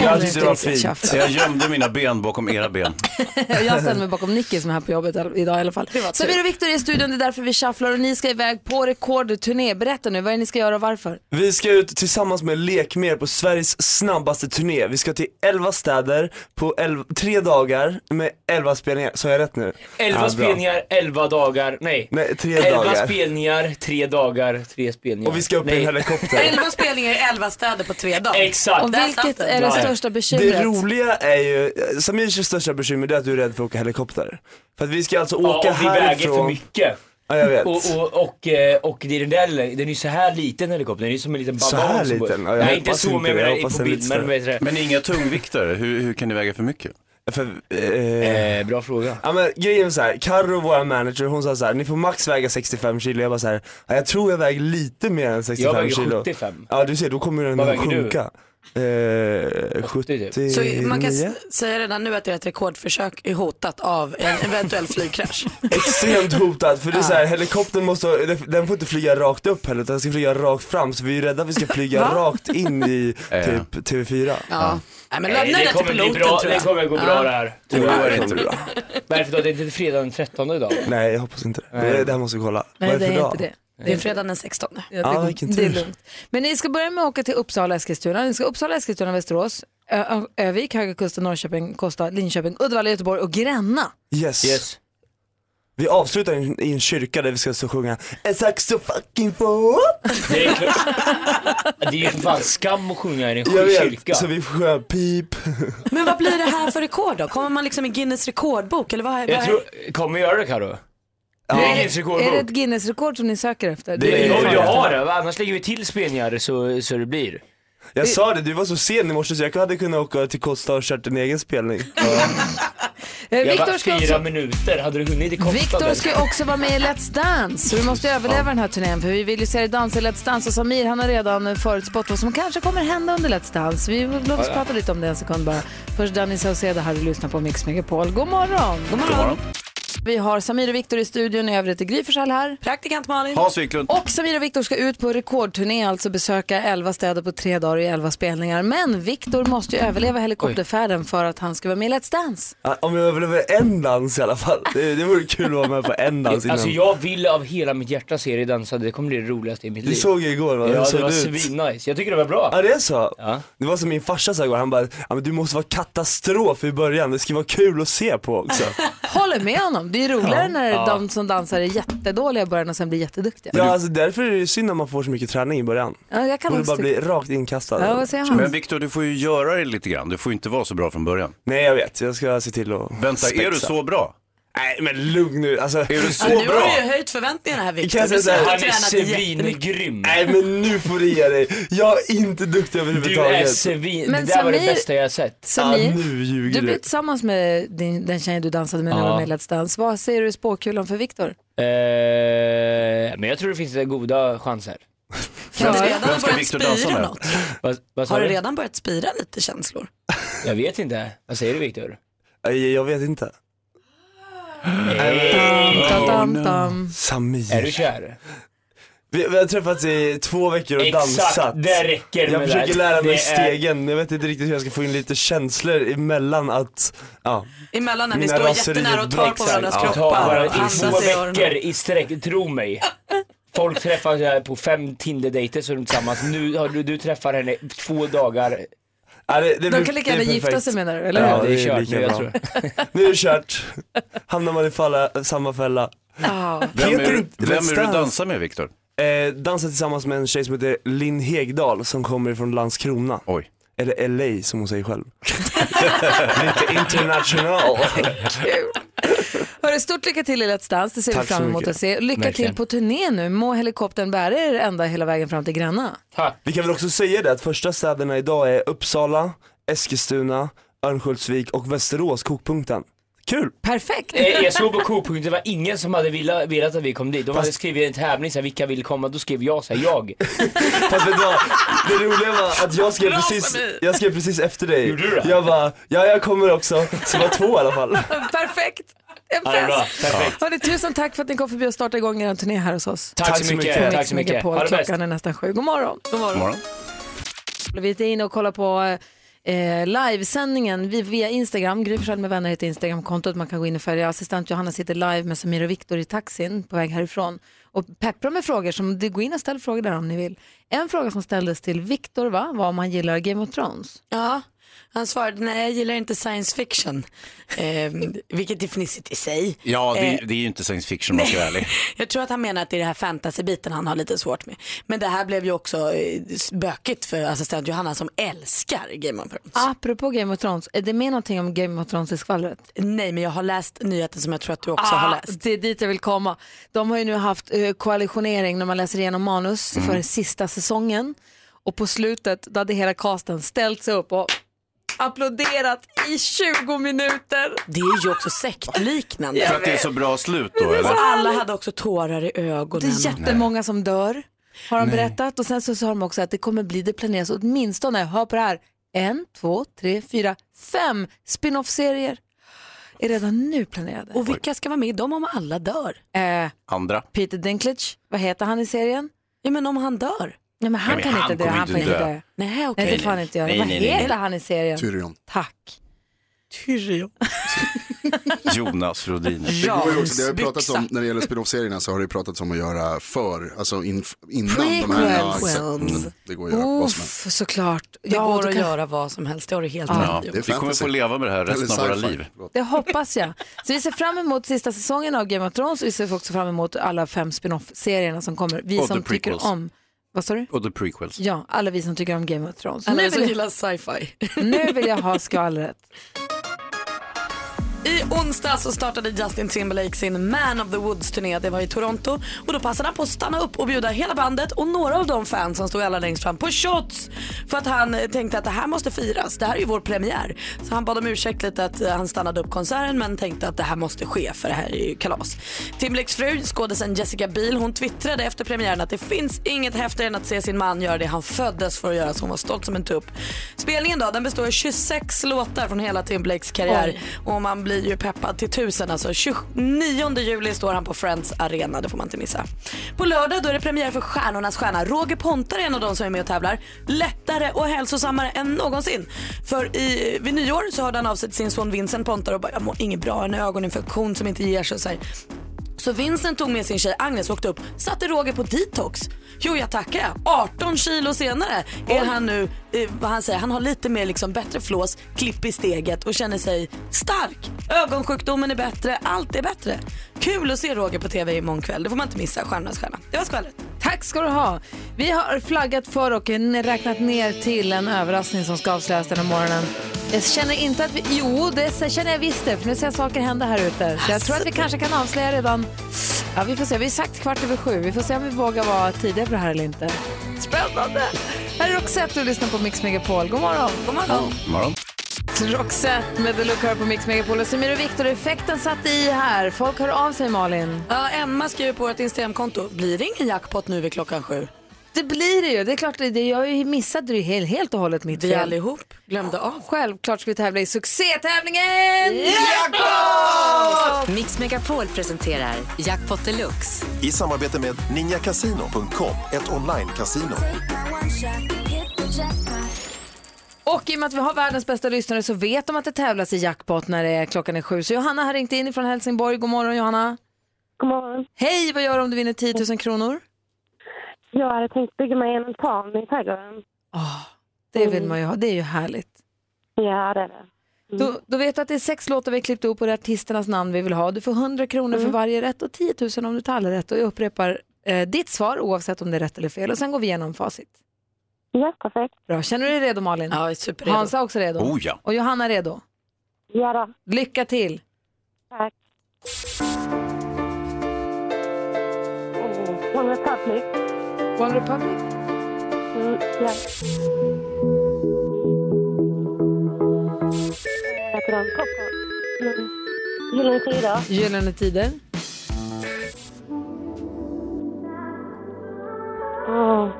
[SPEAKER 7] Jag tyckte det var fint.
[SPEAKER 1] Tjafs.
[SPEAKER 3] Så jag gömde mina ben bakom era ben.
[SPEAKER 1] Jag ställer mig bakom Nicky som är här på jobbet all- idag i alla fall.
[SPEAKER 2] var tur.
[SPEAKER 1] Samir och Viktor är i studion, det är därför vi shufflar och ni ska iväg på rekordturné. Berätta nu, vad är det ni ska göra och varför?
[SPEAKER 7] Vi ska ut tillsammans med Lek mer på Sveriges snabbaste turné. Vi ska till 11 städer på 11, tre dagar med 11 spelningar. Sa jag rätt nu? Ja,
[SPEAKER 6] 11
[SPEAKER 7] bra.
[SPEAKER 6] spelningar, 11 dagar, nej.
[SPEAKER 7] Nej, tre
[SPEAKER 6] 11
[SPEAKER 7] dagar.
[SPEAKER 6] spelningar, 3 dagar, 3 spelningar.
[SPEAKER 7] Och vi ska upp i
[SPEAKER 6] Nej.
[SPEAKER 7] en helikopter.
[SPEAKER 2] Elva spelningar i elva städer på tre dagar.
[SPEAKER 6] Exakt.
[SPEAKER 1] Och vilket är det
[SPEAKER 6] Nej.
[SPEAKER 1] största
[SPEAKER 7] Det
[SPEAKER 1] bekymret?
[SPEAKER 7] roliga är ju, Samirs största bekymmer det är att du är rädd för att åka helikopter. För att vi ska alltså
[SPEAKER 6] Ja,
[SPEAKER 7] åka
[SPEAKER 6] och vi väger för
[SPEAKER 7] härifrån.
[SPEAKER 6] mycket.
[SPEAKER 7] Ja, jag vet.
[SPEAKER 6] Och, och, och, eh, och det är den där, lilla- den är ju så här liten helikoptern, den är ju som en liten banan.
[SPEAKER 7] Så här
[SPEAKER 6] som bara-
[SPEAKER 7] liten? Ja, jag
[SPEAKER 6] Nej inte
[SPEAKER 7] hoppas
[SPEAKER 6] så
[SPEAKER 7] inte
[SPEAKER 6] men jag
[SPEAKER 7] det. Jag
[SPEAKER 6] menar
[SPEAKER 7] hoppas
[SPEAKER 6] på
[SPEAKER 7] den är
[SPEAKER 6] bild,
[SPEAKER 7] lite
[SPEAKER 6] men vad heter Eh,
[SPEAKER 3] Men inga tungviktare, hur, hur kan ni väga för mycket?
[SPEAKER 7] För, eh,
[SPEAKER 6] det? Eh, bra fråga.
[SPEAKER 7] Ja men grejen var såhär, Carro vår manager hon sa såhär, ni får max väga 65 kilo, jag bara såhär, ja, jag tror jag väger lite mer än 65
[SPEAKER 6] Jag väger
[SPEAKER 7] kilo
[SPEAKER 6] 75.
[SPEAKER 7] Ja du ser, då kommer den
[SPEAKER 6] Vad
[SPEAKER 7] att
[SPEAKER 6] väger du?
[SPEAKER 7] sjunka. Eh, 70
[SPEAKER 6] typ.
[SPEAKER 2] Så man kan s- säga redan nu att ert rekordförsök är hotat av en eventuell flygkrasch.
[SPEAKER 7] Extremt hotad, för det är såhär, helikoptern måste, den får inte flyga rakt upp heller utan den ska flyga rakt fram så vi är rädda att vi ska flyga rakt in i
[SPEAKER 3] Ja.
[SPEAKER 7] typ TV4.
[SPEAKER 2] Ja. Nej, men
[SPEAKER 6] Nej,
[SPEAKER 2] lämna
[SPEAKER 6] det
[SPEAKER 2] det till
[SPEAKER 6] kommer bli
[SPEAKER 2] piloten
[SPEAKER 6] bra,
[SPEAKER 2] tror
[SPEAKER 6] det
[SPEAKER 2] jag.
[SPEAKER 6] kommer gå bra det här.
[SPEAKER 3] Det går
[SPEAKER 7] det
[SPEAKER 3] inte.
[SPEAKER 7] blir bra.
[SPEAKER 6] Varför då? Det är inte fredag den 13 idag?
[SPEAKER 7] Nej jag hoppas inte det. Det, det här måste vi kolla.
[SPEAKER 1] Nej,
[SPEAKER 7] Vad
[SPEAKER 1] det
[SPEAKER 7] för
[SPEAKER 1] är
[SPEAKER 7] dag?
[SPEAKER 1] inte det.
[SPEAKER 2] Det är fredag den 16.
[SPEAKER 1] Ja,
[SPEAKER 7] Ja,
[SPEAKER 1] det,
[SPEAKER 7] vilken
[SPEAKER 1] det är
[SPEAKER 7] tur.
[SPEAKER 1] lugnt. Men ni ska börja med att åka till Uppsala, Eskilstuna. Ni ska Uppsala, Eskilstuna, Västerås, Ö- Ö- Övik, Höga Kusten, Norrköping, Kosta, Linköping, Uddevalla, Göteborg och Gränna.
[SPEAKER 7] Yes.
[SPEAKER 6] Yes.
[SPEAKER 7] Vi avslutar i en, i en kyrka där vi ska så sjunga A saxo fucking fool.
[SPEAKER 6] Det är klart. Det är ju för fan skam att sjunga i en
[SPEAKER 7] Jag vet,
[SPEAKER 6] kyrka.
[SPEAKER 7] så vi får sjunga pip.
[SPEAKER 2] Men vad blir det här för rekord då? Kommer man liksom i Guinness rekordbok eller vad? vad
[SPEAKER 6] Jag
[SPEAKER 2] är-
[SPEAKER 6] tror, kommer vi göra det Carro? Det är
[SPEAKER 1] Är
[SPEAKER 6] Guinness
[SPEAKER 1] det ett
[SPEAKER 6] rekordbok.
[SPEAKER 1] Guinness-rekord som ni söker efter? Eh,
[SPEAKER 7] Det är-
[SPEAKER 6] Jag vill ju ha det, va? annars lägger vi till spelningar så, så det blir.
[SPEAKER 7] Jag sa det, du var så sen i morse så jag hade kunnat åka till Kosta och kört en egen spelning.
[SPEAKER 1] Eh,
[SPEAKER 6] Jag
[SPEAKER 1] Viktor
[SPEAKER 6] var
[SPEAKER 1] Eh, ska
[SPEAKER 6] fyra
[SPEAKER 1] också...
[SPEAKER 6] minuter, hade du hunnit? Det
[SPEAKER 1] Viktor
[SPEAKER 6] kostade.
[SPEAKER 1] ska ju också vara med i Let's Dance, så vi måste ju överleva den här turnén för vi vill ju se dig dansa i Let's Dance och Samir han har redan förutspått vad som kanske kommer hända under Let's Dance. Vi, låt oss prata lite om det en sekund bara. Först Danny Saucedo här du lyssnar på Mix Megapol. God morgon! God morgon! Vi har Samir och Viktor i studion, i övrigt är Gry Forssell här.
[SPEAKER 2] Praktikant Malin.
[SPEAKER 3] Hans Wiklund.
[SPEAKER 1] Och Samir och Viktor ska ut på rekordturné, alltså besöka 11 städer på tre dagar i 11 spelningar. Men Viktor måste ju överleva helikopterfärden för att han ska vara med i Let's Dance.
[SPEAKER 7] Ja, Om jag överlever en dans i alla fall. Det, det vore kul att vara med på en dans innan.
[SPEAKER 6] Alltså jag vill av hela mitt hjärta se dig dansa, det kommer bli det roligaste i mitt
[SPEAKER 7] Du
[SPEAKER 6] liv.
[SPEAKER 7] såg ju igår va? Hur
[SPEAKER 6] ja,
[SPEAKER 7] såg
[SPEAKER 6] det var
[SPEAKER 7] ut?
[SPEAKER 6] svinnice. Jag tycker det var bra.
[SPEAKER 7] Ja det är så?
[SPEAKER 6] Ja.
[SPEAKER 7] Det var som min farsa sa igår, han bara, ja, men du måste vara katastrof i början, det ska vara kul att se på också.
[SPEAKER 1] Håller med honom, det är roligare när de som dansar är jättedåliga i början och sen blir jätteduktiga.
[SPEAKER 7] ja alltså därför är det synd om man får så mycket träning i början.
[SPEAKER 1] Ja, jag kan
[SPEAKER 7] Borde
[SPEAKER 1] också
[SPEAKER 7] bara
[SPEAKER 1] tycka.
[SPEAKER 7] bli rakt inkastad.
[SPEAKER 1] Ja, vad säger
[SPEAKER 3] Men
[SPEAKER 1] han?
[SPEAKER 3] Viktor, du får ju göra det lite grann. Du får ju inte vara så bra från början.
[SPEAKER 7] Nej jag vet, jag ska se till att
[SPEAKER 3] Vänta, är du
[SPEAKER 7] spexa.
[SPEAKER 3] så bra?
[SPEAKER 7] Nej men lugn nu, alltså.
[SPEAKER 3] Är du så
[SPEAKER 2] nu har
[SPEAKER 3] bra?
[SPEAKER 2] du ju höjt förväntningarna här Viktor.
[SPEAKER 7] Kan jag säga
[SPEAKER 2] Du
[SPEAKER 7] så här?
[SPEAKER 2] har
[SPEAKER 6] Han är
[SPEAKER 2] tränat jättemycket.
[SPEAKER 6] svingrym.
[SPEAKER 7] Nej men nu får du ge dig, jag är inte duktig
[SPEAKER 6] Du är
[SPEAKER 7] överhuvudtaget.
[SPEAKER 6] svin...
[SPEAKER 1] Men
[SPEAKER 6] det där var det
[SPEAKER 1] Samir-
[SPEAKER 6] bästa jag har sett.
[SPEAKER 7] ja,
[SPEAKER 1] Samir,
[SPEAKER 7] nu
[SPEAKER 1] du
[SPEAKER 7] ljuger
[SPEAKER 1] blev
[SPEAKER 7] du.
[SPEAKER 1] tillsammans med din, den tjejen du dansade med när du
[SPEAKER 6] Ja.
[SPEAKER 1] var med i Let's Dance. Vad säger du i spåkulan för Viktor?
[SPEAKER 6] Eh, men jag tror det finns goda chanser.
[SPEAKER 2] Har du
[SPEAKER 1] Klara?
[SPEAKER 2] redan
[SPEAKER 3] Vem ska
[SPEAKER 2] börjat
[SPEAKER 3] Victor dansa
[SPEAKER 2] spira
[SPEAKER 3] med?
[SPEAKER 2] något?
[SPEAKER 6] Vad, vad sa
[SPEAKER 2] Har du
[SPEAKER 6] du?
[SPEAKER 2] redan börjat spira lite känslor?
[SPEAKER 6] Jag vet inte. Vad säger du Viktor?
[SPEAKER 7] Nej, Eh, Jag vet inte.
[SPEAKER 1] Tam, tam, tam.
[SPEAKER 7] Samir.
[SPEAKER 6] Oh, Är du kär?
[SPEAKER 7] Vi, vi har träffats i två veckor och dansat.
[SPEAKER 6] Exakt, det räcker
[SPEAKER 7] Jag
[SPEAKER 6] med
[SPEAKER 7] försöker
[SPEAKER 6] det.
[SPEAKER 7] lära mig
[SPEAKER 6] Det är-
[SPEAKER 7] stegen, jag vet inte riktigt hur jag ska få in lite känslor emellan att, ja.
[SPEAKER 2] Emellan när ni
[SPEAKER 7] Mina
[SPEAKER 2] står
[SPEAKER 7] raserier
[SPEAKER 2] jättenära och tar på
[SPEAKER 7] växer.
[SPEAKER 2] varandras
[SPEAKER 7] Ja.
[SPEAKER 6] Ta
[SPEAKER 2] kroppar
[SPEAKER 6] bara i
[SPEAKER 2] och
[SPEAKER 6] två
[SPEAKER 2] andas i
[SPEAKER 6] veckor
[SPEAKER 2] öronen.
[SPEAKER 6] i sträck, tro mig. Folk träffas här på fem Tinder-dejter så är de tillsammans. Nu har du, du träffar henne två dagar.
[SPEAKER 7] ja det, det
[SPEAKER 1] De
[SPEAKER 7] blir-
[SPEAKER 1] kan lika
[SPEAKER 7] det är
[SPEAKER 1] gärna gifta
[SPEAKER 7] perfekt.
[SPEAKER 1] sig menar du, eller hur?
[SPEAKER 6] Ja, det
[SPEAKER 7] det
[SPEAKER 6] är
[SPEAKER 7] är
[SPEAKER 6] kört
[SPEAKER 7] lika
[SPEAKER 6] nu, jag
[SPEAKER 7] bra.
[SPEAKER 6] tror.
[SPEAKER 7] Nu är det kört. Hamnar man i falla, samma fälla.
[SPEAKER 3] Vem är,
[SPEAKER 7] inte
[SPEAKER 3] vem är
[SPEAKER 7] Let's
[SPEAKER 3] du
[SPEAKER 7] Dance.
[SPEAKER 3] dansar med Viktor?
[SPEAKER 7] Eh, dansar tillsammans med en tjej som heter Linn Hegdahl som kommer från Landskrona.
[SPEAKER 3] Oj.
[SPEAKER 7] Eller LA som hon säger själv. lite international.
[SPEAKER 1] Hörru, stort lycka till i Let's Dance, det ser
[SPEAKER 7] Tack
[SPEAKER 1] vi
[SPEAKER 7] så
[SPEAKER 1] fram emot
[SPEAKER 7] mycket.
[SPEAKER 1] att se. Lycka
[SPEAKER 6] Verkligen.
[SPEAKER 1] till på turné nu, må helikoptern bära er ända hela vägen fram till Gränna.
[SPEAKER 6] Tack.
[SPEAKER 7] Vi kan väl också säga det att första städerna idag är Uppsala, Eskilstuna, Örnsköldsvik och Västerås, kokpunkten. Kul!
[SPEAKER 1] Perfekt!
[SPEAKER 6] Eh, Jag såg på Coop.se, det var ingen som hade villa- velat att vi kom dit. De hade
[SPEAKER 7] Fast-
[SPEAKER 6] skrivit en tävling, så här, vilka vill komma? Då skrev jag så här, jag.
[SPEAKER 7] Fast vet du vad? Det roliga var att jag skrev
[SPEAKER 2] Bra,
[SPEAKER 7] precis,
[SPEAKER 2] Samir.
[SPEAKER 7] jag skrev precis efter dig.
[SPEAKER 6] Gjorde du det?
[SPEAKER 7] Jag bara, ja jag kommer också. Så det var två i alla fall.
[SPEAKER 1] Perfekt! En
[SPEAKER 6] Ja, det är bra.
[SPEAKER 1] fest!
[SPEAKER 6] Perfekt.
[SPEAKER 1] Hörru, tusen tack för att ni kom förbi och startade igång er turné här hos oss.
[SPEAKER 6] Tack så mycket. Tack så mycket.
[SPEAKER 1] På.
[SPEAKER 6] Ha det bäst.
[SPEAKER 1] Klockan är nästan sju. God morgon. God morgon.
[SPEAKER 3] Morgon.
[SPEAKER 1] Vi är inne och kollar på eh, livesändningen vi- via Instagram. Gry Forssell med vänner heter Instagramkontot. Man kan gå in och följa. Assistent Johanna sitter live med Samir och Viktor i taxin på väg härifrån. Och peppra med frågor. Som, du, gå in och ställ frågor där om ni vill. En fråga som ställdes till Viktor va? var om han gillar Game of Thrones.
[SPEAKER 2] Ja, han svarade nej jag gillar inte science fiction. Ehm, vilket är fnissigt i sig. Eh,
[SPEAKER 3] Ja,
[SPEAKER 1] Eh.
[SPEAKER 3] det, det är ju inte science fiction om man ska vara ärlig.
[SPEAKER 2] Jag tror att han menar att det är den här fantasy-biten han har lite svårt med. Men det här blev ju också eh, bökigt för assistent Johanna som älskar Game of Thrones.
[SPEAKER 1] Apropå Game of Thrones, är det med någonting om Game of Thrones i skvallret?
[SPEAKER 2] Nej men jag har läst nyheten som jag tror att du också har
[SPEAKER 1] Ah,
[SPEAKER 2] läst.
[SPEAKER 1] det är dit jag vill komma. De har ju nu haft eh, koalitionering när man läser igenom manus
[SPEAKER 2] Mm.
[SPEAKER 1] för sista säsongen. Och på slutet då hade hela casten ställt sig upp och applåderat i 20 minuter.
[SPEAKER 2] Det är ju också sektliknande.
[SPEAKER 3] För att det är så bra slut då, eller?
[SPEAKER 2] Och alla hade också tårar i ögonen.
[SPEAKER 1] Det är jättemånga som dör har de berättat. Och sen så sa de också att det kommer bli, det planeras åtminstone, hör på det här, en, två, tre, fyra, fem spin-off-serier är redan nu planerade.
[SPEAKER 2] Och vilka ska vara med i dem om alla dör?
[SPEAKER 1] eh,
[SPEAKER 3] Andra.
[SPEAKER 1] Peter Dinklage, vad heter han i serien?
[SPEAKER 2] Ja men om han dör?
[SPEAKER 1] Nej men han
[SPEAKER 3] Nej, men
[SPEAKER 1] kan
[SPEAKER 3] han
[SPEAKER 1] inte dö,
[SPEAKER 3] kommer
[SPEAKER 1] han får
[SPEAKER 3] inte
[SPEAKER 1] inte
[SPEAKER 3] dö.
[SPEAKER 1] dö.
[SPEAKER 2] Nej okej.
[SPEAKER 1] Nej, det får han inte göra.
[SPEAKER 3] Nej,
[SPEAKER 1] Vad
[SPEAKER 3] nej, nej,
[SPEAKER 1] heter han i serien?
[SPEAKER 9] Tyrion.
[SPEAKER 1] Tack.
[SPEAKER 2] Tyrion.
[SPEAKER 3] Jonas Rodin.
[SPEAKER 9] Det, går ju också, det har ju pratats om, när det gäller spin-off-serierna så har det ju pratats om att göra för, alltså in, innan de här. ja, exakt.
[SPEAKER 2] Prequels. Oh.
[SPEAKER 9] Mm, det går att göra vad som helst.
[SPEAKER 1] Uff, såklart.
[SPEAKER 2] Det
[SPEAKER 1] Ja,
[SPEAKER 2] går
[SPEAKER 1] då
[SPEAKER 2] att
[SPEAKER 1] kan-
[SPEAKER 2] göra vad som helst, det har du helt
[SPEAKER 3] Ja,
[SPEAKER 2] rätt i.
[SPEAKER 9] det är
[SPEAKER 3] vi kommer
[SPEAKER 9] fantasy.
[SPEAKER 3] få leva med det här resten av
[SPEAKER 9] Eller
[SPEAKER 3] våra
[SPEAKER 9] sci-fi,
[SPEAKER 3] liv.
[SPEAKER 9] förlåt.
[SPEAKER 1] Det hoppas jag. Så vi ser fram emot sista säsongen av Game of Thrones och vi ser också fram emot alla fem spin-off-serierna som kommer. Vi
[SPEAKER 3] Och
[SPEAKER 1] som
[SPEAKER 3] the prequels.
[SPEAKER 1] tycker om... Vad sa du?
[SPEAKER 3] Och the prequels.
[SPEAKER 1] Ja, alla vi som tycker om Game of Thrones.
[SPEAKER 2] Alla
[SPEAKER 1] Nu
[SPEAKER 2] som
[SPEAKER 1] vill,
[SPEAKER 2] gillar sci-fi.
[SPEAKER 1] jag, nu vill jag ha skvallret.
[SPEAKER 2] I onsdag så startade Justin Timberlake sin Man of the Woods-turné. Det var i Toronto. Och då passade han på att stanna upp och bjuda hela bandet och några av de fans som stod allra längst fram på shots. För att han eh, tänkte att det här måste firas. Det här är ju vår premiär. Så han bad om ursäkt lite att eh, han stannade upp konserten men tänkte att det här måste ske för det här är ju kalas. Timberlakes fru, skådisen Jessica Biel, hon twittrade efter premiären att det finns inget häftigare än att se sin man göra det han föddes för att göra så hon var stolt som en tupp. Spelningen då, den består av 26 låtar från hela Timberlakes karriär och man blir ju peppad till tusen alltså. 29 juli står han på Friends Arena, det får man inte missa. På lördag då är det premiär för Stjärnornas stjärna. Roger Pontare är en av de som är med och tävlar. Lättare och hälsosammare än någonsin. För i, vid nyår så hörde han av sig till sin son Vincent Pontare och bara jag mår inget bra, en ögoninfektion som inte ger sig. och Så här. Så Vincent tog med sin tjej Agnes och åkte upp, satte Roger på detox. Jo jag tackar jag. 18 kilo senare är han nu, eh, vad han säger, han har lite mer liksom bättre flås, klipp i steget och känner sig stark. Ögonsjukdomen är bättre, allt är bättre. Kul att se Roger på TV imorgon kväll, det får man inte missa. Stjärnornas stjärna. Det var skvallret.
[SPEAKER 1] Tack ska du ha. Vi har flaggat för och n- räknat ner till en överraskning som ska avslöjas den här morgonen. Jag känner inte att vi... Jo, det s- känner jag visst det, för nu ser jag saker hända här ute. Så jag tror att vi kanske kan avslöja redan... Ja, vi får se. Vi är sagt kvart över sju. Vi får se om vi vågar vara tidiga på det här eller inte. Spännande! Här är Roxette och lyssnar på Mix Megapol. God morgon!
[SPEAKER 2] God morgon.
[SPEAKER 3] Morgon.
[SPEAKER 1] Roxette med The Look Hör på Mix Megapol. Och Samir och Viktor-effekten satt i här. Folk hör av sig, Malin.
[SPEAKER 2] Ja, Emma skriver på vårt Instagramkonto, blir det ingen jackpot nu vid klockan sju?
[SPEAKER 1] Det blir det ju. Det är klart, det, jag har ju missat det ju helt, helt och hållet mitt
[SPEAKER 2] Vi
[SPEAKER 1] fel.
[SPEAKER 2] allihop glömde av.
[SPEAKER 1] Självklart ska vi tävla i succétävlingen
[SPEAKER 10] Mix Megapol presenterar Jackpot Deluxe.
[SPEAKER 11] I samarbete med ninjakasino.com, ett online-casino.
[SPEAKER 1] Och i och med att vi har världens bästa lyssnare så vet de att det tävlas i jackpot när det är, klockan är sju. Så Johanna har ringt in från Helsingborg. God morgon Johanna.
[SPEAKER 12] God morgon.
[SPEAKER 1] Hej, vad gör du om du vinner 10 000 kronor?
[SPEAKER 12] Jag hade tänkt bygga mig en altan i trädgården.
[SPEAKER 1] Ah,
[SPEAKER 12] Mm.
[SPEAKER 1] Det vill man ju ha, det är ju härligt.
[SPEAKER 12] Ja, det Mm. är det.
[SPEAKER 1] Då, då vet du att det är sex låtar vi klippt ihop och det är artisternas namn vi vill ha. Du får 100 kronor
[SPEAKER 12] Mm.
[SPEAKER 1] för varje rätt och 10 000 om du tar alla rätt. Och jag upprepar eh, ditt svar oavsett om det är rätt eller fel och sen går vi igenom facit.
[SPEAKER 12] Ja, perfekt.
[SPEAKER 1] Bra, känner du dig redo Malin?
[SPEAKER 2] Ja, jag är superredo.
[SPEAKER 1] Hansa också redo?
[SPEAKER 3] Oh ja.
[SPEAKER 1] Och Johanna är redo?
[SPEAKER 12] Ja då.
[SPEAKER 1] Lycka till!
[SPEAKER 12] Tack. Mm, Oh, One Republic.
[SPEAKER 1] One Republic?
[SPEAKER 12] Mm, ja. Vad heter de? Coco. Mm. Gyllene Tider.
[SPEAKER 1] Gyllene Tider?
[SPEAKER 12] Åh.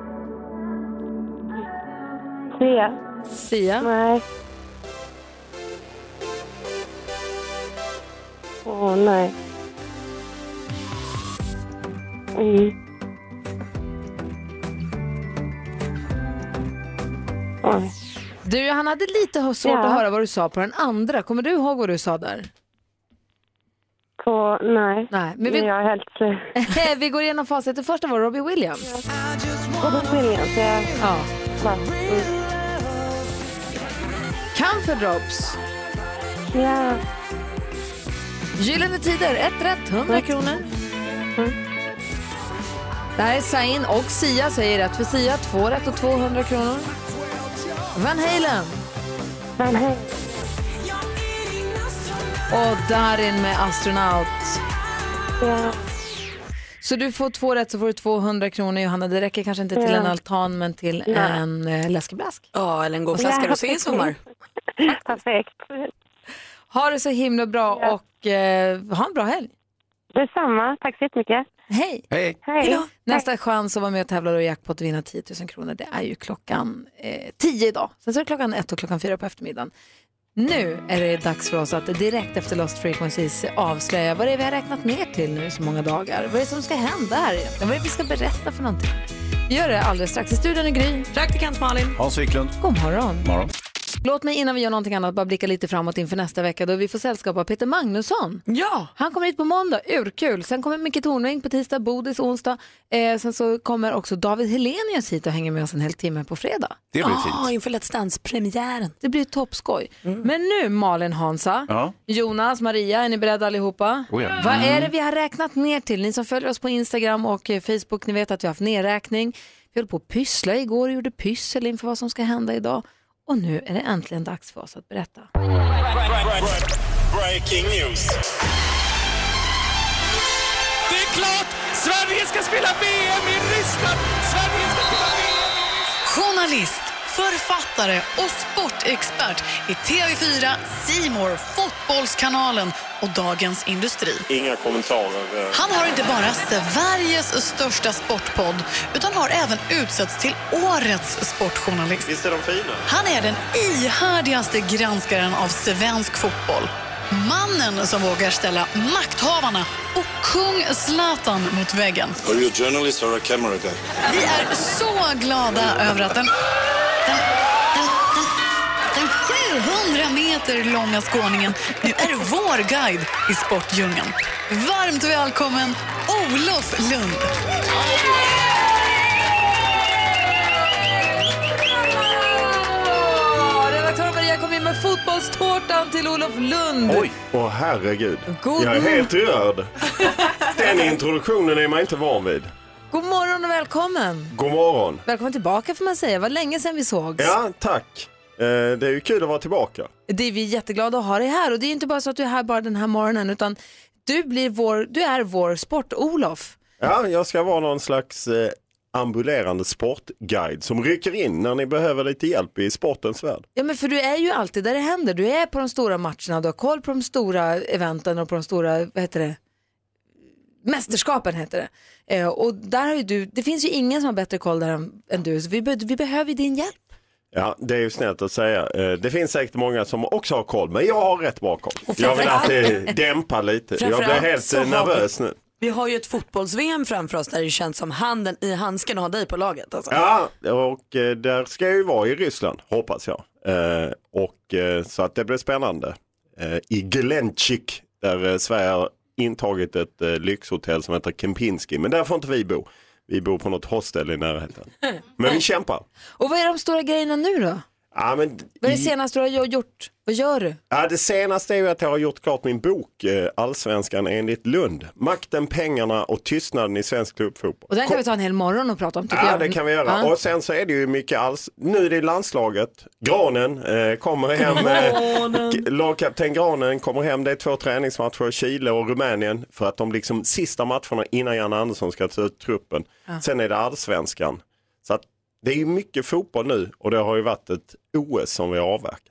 [SPEAKER 12] Svea?
[SPEAKER 1] Sia?
[SPEAKER 12] Nej. Åh, nej. Mm. Oj.
[SPEAKER 1] Du, han hade lite svårt
[SPEAKER 12] Ja.
[SPEAKER 1] att höra vad du sa på den andra. Kommer du ihåg vad du sa där?
[SPEAKER 12] På, nej.
[SPEAKER 1] Nej, men vi,
[SPEAKER 12] Jag är helt slut.
[SPEAKER 1] vi går igenom facit. Det första var Robbie Williams.
[SPEAKER 12] Robin Williams, jag
[SPEAKER 1] Ja.
[SPEAKER 12] bara... Mm.
[SPEAKER 1] Camphor Drops.
[SPEAKER 12] Ja,
[SPEAKER 1] Gyllene Tider, ett rätt, 100 kronor. Det här är Sain och Sia, säger rätt för Sia. Två rätt och 200 kronor. Van Halen
[SPEAKER 12] men hej.
[SPEAKER 1] och Darin med Astronaut.
[SPEAKER 12] Ja,
[SPEAKER 1] Så du får två rätt så får du 200 kronor Johanna. Det räcker kanske inte till
[SPEAKER 12] Ja.
[SPEAKER 1] en altan men till
[SPEAKER 12] Ja.
[SPEAKER 1] en eh, läskeblask.
[SPEAKER 2] Ja, eller en god flaska
[SPEAKER 12] Ja,
[SPEAKER 2] rosé i sommar.
[SPEAKER 12] perfekt.
[SPEAKER 1] Ha det så himla bra
[SPEAKER 12] Ja.
[SPEAKER 1] och eh, ha en bra helg.
[SPEAKER 12] Detsamma. Tack så jättemycket.
[SPEAKER 1] Hej!
[SPEAKER 3] Hej.
[SPEAKER 12] Hej.
[SPEAKER 1] Nästa chans att vara med och tävla och jackpot och vinna 10 000 kronor det är ju klockan eh, 10 idag. Sen så är det klockan 1 och klockan 4 på eftermiddagen. Nu är det dags för oss att direkt efter Lost Frequencies avslöja vad det är vi har räknat ner till nu i så många dagar. Vad är det som ska hända här egentligen? Vad är det vi ska berätta för någonting? Vi gör det alldeles strax. I studion är Gry.
[SPEAKER 2] Praktikant Malin.
[SPEAKER 3] Hans Wiklund.
[SPEAKER 1] God morgon!
[SPEAKER 3] Morgon.
[SPEAKER 1] Låt mig innan vi gör någonting annat bara blicka lite framåt inför nästa vecka då vi får sällskap av Peter Magnusson.
[SPEAKER 2] Ja.
[SPEAKER 1] Han kommer hit på måndag, urkul. Sen kommer Micke Tornving på tisdag, Bodis onsdag. Eh, sen så kommer också David Helenius hit och hänger med oss en hel timme på fredag.
[SPEAKER 3] Det blir fint.
[SPEAKER 2] Ah, inför Let's Dance-premiären. Mm.
[SPEAKER 1] Det blir toppskoj. Men nu Malin Hansa,
[SPEAKER 3] Ja.
[SPEAKER 1] Jonas, Maria, är ni beredda allihopa?
[SPEAKER 3] Oh ja.
[SPEAKER 1] Vad
[SPEAKER 5] er
[SPEAKER 1] är det
[SPEAKER 13] Mm.
[SPEAKER 1] vi har räknat ner till? Ni som följer oss på Instagram och eh, Facebook, ni vet att vi har haft nerräkning. Vi höll på att pyssla igår och gjorde pyssel inför vad som ska hända idag. Och nu är det äntligen dags för oss att berätta.
[SPEAKER 13] Breaking news. Det är klart! Sverige ska spela VM i Ryssland! Sverige ska spela VM!
[SPEAKER 5] Journalist, författare och sportexpert i TV4, Simor, Fotbollskanalen och Dagens Industri.
[SPEAKER 13] Inga kommentarer. eh.
[SPEAKER 5] Han har inte bara Sveriges största sportpodd utan har även utsetts till Årets sportjournalist.
[SPEAKER 13] Visst är de fina?
[SPEAKER 5] Han är den ihärdigaste granskaren av svensk fotboll. Mannen som vågar ställa makthavarna och kung Zlatan mot väggen.
[SPEAKER 13] Are you a journalist or a camera guy?
[SPEAKER 5] Vi är så glada över att den, den, den, den, den 700 meter långa skåningen nu är vår guide i sportdjungeln. Varmt välkommen Olof Lund!
[SPEAKER 1] Ja, Redaktör Maria kom in med fotbollstårtan till Olof Lund.
[SPEAKER 14] Oj! Åh herregud.
[SPEAKER 1] God
[SPEAKER 14] jag är
[SPEAKER 1] mor-
[SPEAKER 14] helt rörd. Den introduktionen är man inte van vid.
[SPEAKER 1] God morgon och välkommen.
[SPEAKER 14] God morgon.
[SPEAKER 1] Välkommen tillbaka får man säga. Vad länge sedan vi sågs.
[SPEAKER 14] Ja, tack. Eh, Det är ju kul att vara tillbaka.
[SPEAKER 1] Det är vi jätteglada att ha dig här och det är inte bara så att du är här bara den här morgonen utan du, blir vår, du är vår sport-Olof.
[SPEAKER 14] Ja, jag ska vara någon slags eh, ambulerande sportguide som rycker in när ni behöver lite hjälp i sportens värld.
[SPEAKER 1] Ja men för du är ju alltid där det händer. Du är på de stora matcherna, du har koll på de stora eventen och på de stora, vad heter det, mästerskapen heter det. Eh, och där har ju du, det finns ju ingen som har bättre koll där än, än du, så vi, be, vi behöver ju din hjälp.
[SPEAKER 14] Ja, det är ju snällt att säga. Eh, Det finns säkert många som också har koll, men jag har rätt bra koll. Jag vill att det
[SPEAKER 2] framförallt-
[SPEAKER 14] dämpar lite. Jag
[SPEAKER 2] Framförallt
[SPEAKER 14] blir helt
[SPEAKER 2] så har
[SPEAKER 14] eh,
[SPEAKER 2] vi-
[SPEAKER 14] nervös nu.
[SPEAKER 2] Vi har ju ett fotbolls-VM framför oss där det känns som handen i handsken att ha dig på laget. Alltså.
[SPEAKER 14] Ja, och eh, där ska jag ju vara i Ryssland, hoppas jag. Eh, och eh, så att det blir spännande. Eh, I Glenchik, där eh, Sverige har intagit ett eh, lyxhotell som heter Kempinski, men där får inte vi bo. Vi bor på något hostel i närheten. Men vi kämpar.
[SPEAKER 1] Eh, Och vad är de stora grejerna nu då?
[SPEAKER 14] Ja, men
[SPEAKER 1] Vad är det
[SPEAKER 14] i-
[SPEAKER 1] senaste du har gjort? Vad gör du?
[SPEAKER 14] Ja, det senaste är ju att jag har gjort klart min bok eh, Allsvenskan enligt Lund. Makten, pengarna och tystnaden i svensk klubbfotboll.
[SPEAKER 1] Och den kan vi ta en hel morgon och prata om tycker
[SPEAKER 14] Ja
[SPEAKER 1] jag.
[SPEAKER 14] det kan vi göra.
[SPEAKER 1] Ja.
[SPEAKER 14] Och sen så är det ju mycket alls. Nu är det landslaget. Granen eh, kommer hem. Eh,
[SPEAKER 1] Granen.
[SPEAKER 14] k- lagkapten Granen kommer hem. Det är två träningsmatcher. Chile och Rumänien. För att de liksom sista matcherna innan Jan Andersson ska ta ut truppen.
[SPEAKER 1] Ja.
[SPEAKER 14] Sen är det allsvenskan. Så att det är ju mycket fotboll nu och det har ju varit ett OS som vi har avverkat.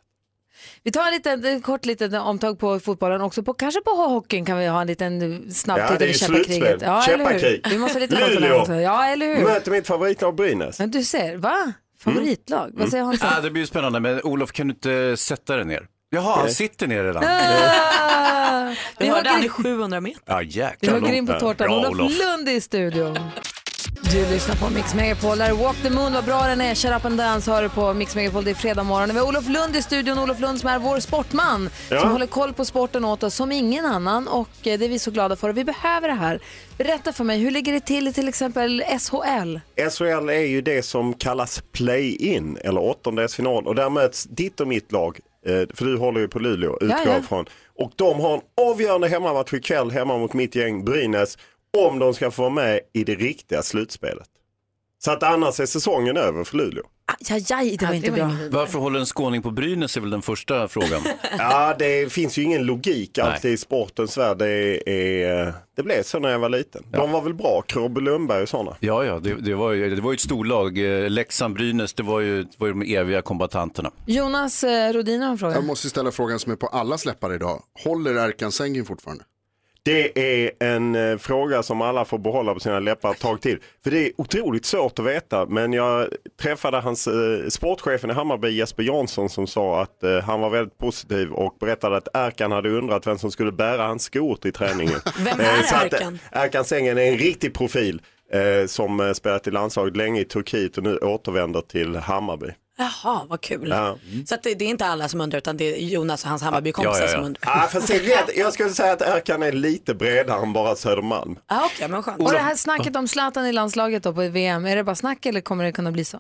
[SPEAKER 1] Vi tar en liten, en kort liten omtag på fotbollen också. På, kanske på hockeyn kan vi ha en liten eh, snabb
[SPEAKER 14] Ja,
[SPEAKER 1] titt
[SPEAKER 14] det
[SPEAKER 1] över
[SPEAKER 14] är ju slutspel.
[SPEAKER 1] käppakriget. eller hur?
[SPEAKER 14] Käppakrig.
[SPEAKER 1] Vi måste ha lite koll på det
[SPEAKER 14] Luleå.
[SPEAKER 1] här också. Ja, eller hur?
[SPEAKER 14] Möter mitt favoritlag Brynäs.
[SPEAKER 1] Men du ser, va? Favoritlag?
[SPEAKER 3] Mm.
[SPEAKER 1] Vad säger Hans?
[SPEAKER 3] Ja, Ah, det blir ju spännande, men Olof kan du inte sätta dig ner? Jaha, han sitter ner redan.
[SPEAKER 1] Ah,
[SPEAKER 2] Vi
[SPEAKER 1] vi
[SPEAKER 2] hörde han
[SPEAKER 1] hugger,
[SPEAKER 2] är 700 meter.
[SPEAKER 3] Ja,
[SPEAKER 1] vi
[SPEAKER 3] jäklar.
[SPEAKER 1] hugger in på tårtan.
[SPEAKER 3] Bra,
[SPEAKER 1] Olof Lund är i studion. Du lyssnar på Mix Megapol. Där är Walk the Moon, vad bra den är. Shut up and dance hör du på Mix Megapol. Det är fredag morgon. Vi har Olof Lund i studion. Olof Lund som är vår sportman.
[SPEAKER 15] Ja.
[SPEAKER 1] Som håller koll på sporten åt oss som ingen annan. Och eh, det är vi så glada för. Och vi behöver det här. Berätta för mig, hur ligger det till i till exempel SHL?
[SPEAKER 14] SHL är ju det som kallas play-in eller åttondelsfinal och där möts ditt och mitt lag, eh, för du håller ju på Luleå, utgår
[SPEAKER 1] Ja, ja.
[SPEAKER 14] från. Och de har en avgörande hemmamatch ikväll hemma mot mitt gäng Brynäs om de ska få vara med i det riktiga slutspelet. Så att annars är säsongen över för Luleå.
[SPEAKER 1] Ajajaj, det var inte bra.
[SPEAKER 3] Varför håller en skåning på Brynäs är väl den första frågan.
[SPEAKER 14] Ja, det finns ju ingen logik alltid i sportens värld. Det, är, eh, det blev så när jag var liten. De var väl bra, Krobbe Lundberg och sådana.
[SPEAKER 3] Ja, ja, det, det, var ju, det var ju ett storlag. Eh, Leksand, Brynäs, det var ju, det var ju de eviga kombatanterna.
[SPEAKER 1] Jonas eh, Rodin har en fråga.
[SPEAKER 9] Jag måste ställa frågan som är på allas läppar idag. Håller Erkan Sengin fortfarande?
[SPEAKER 14] Det är en eh, fråga som alla får behålla på sina läppar ett tag till. För det är otroligt svårt att veta. Men jag träffade hans eh, sportchefen i Hammarby, Jesper Jansson, som sa att eh, han var väldigt positiv och berättade att Erkan hade undrat vem som skulle bära hans skor till träningen.
[SPEAKER 2] Vem
[SPEAKER 14] Eh,
[SPEAKER 2] är
[SPEAKER 14] så att, eh,
[SPEAKER 2] Erkan?
[SPEAKER 14] Erkan Sengin är en riktig profil eh, som eh, spelat i landslaget länge i Turkiet och nu återvänder till Hammarby.
[SPEAKER 2] Jaha, vad kul.
[SPEAKER 14] Ja.
[SPEAKER 2] Så att det, det är inte alla som undrar utan det är Jonas och hans Hammarbykompisar som undrar.
[SPEAKER 14] Ah, fast det är rätt. Jag skulle säga att Erkan är lite bredare än bara Södermalm.
[SPEAKER 2] Ah, okay, men skönt.
[SPEAKER 1] Och det här snacket om Zlatan i landslaget då på VM, är det bara snack eller kommer det kunna bli så?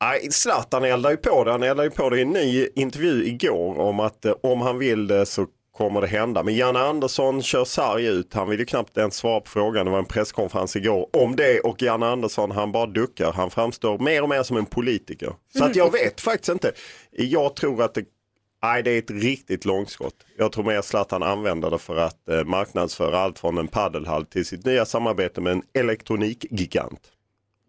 [SPEAKER 14] Nej, Zlatan eldar ju på det. Han eldar ju på det i en ny intervju igår om att eh, om han vill det så kommer det hända. Men Janne Andersson kör sarg ut. Han vill ju knappt ens svara på frågan. Det var en presskonferens igår om det och Janne Andersson han bara duckar. Han framstår mer och mer som en politiker. Så att jag vet faktiskt inte. Jag tror att det Nej, det är ett riktigt långskott. Jag tror mer Zlatan använder det för att eh, marknadsföra allt från en paddelhall till sitt nya samarbete med en elektronikgigant.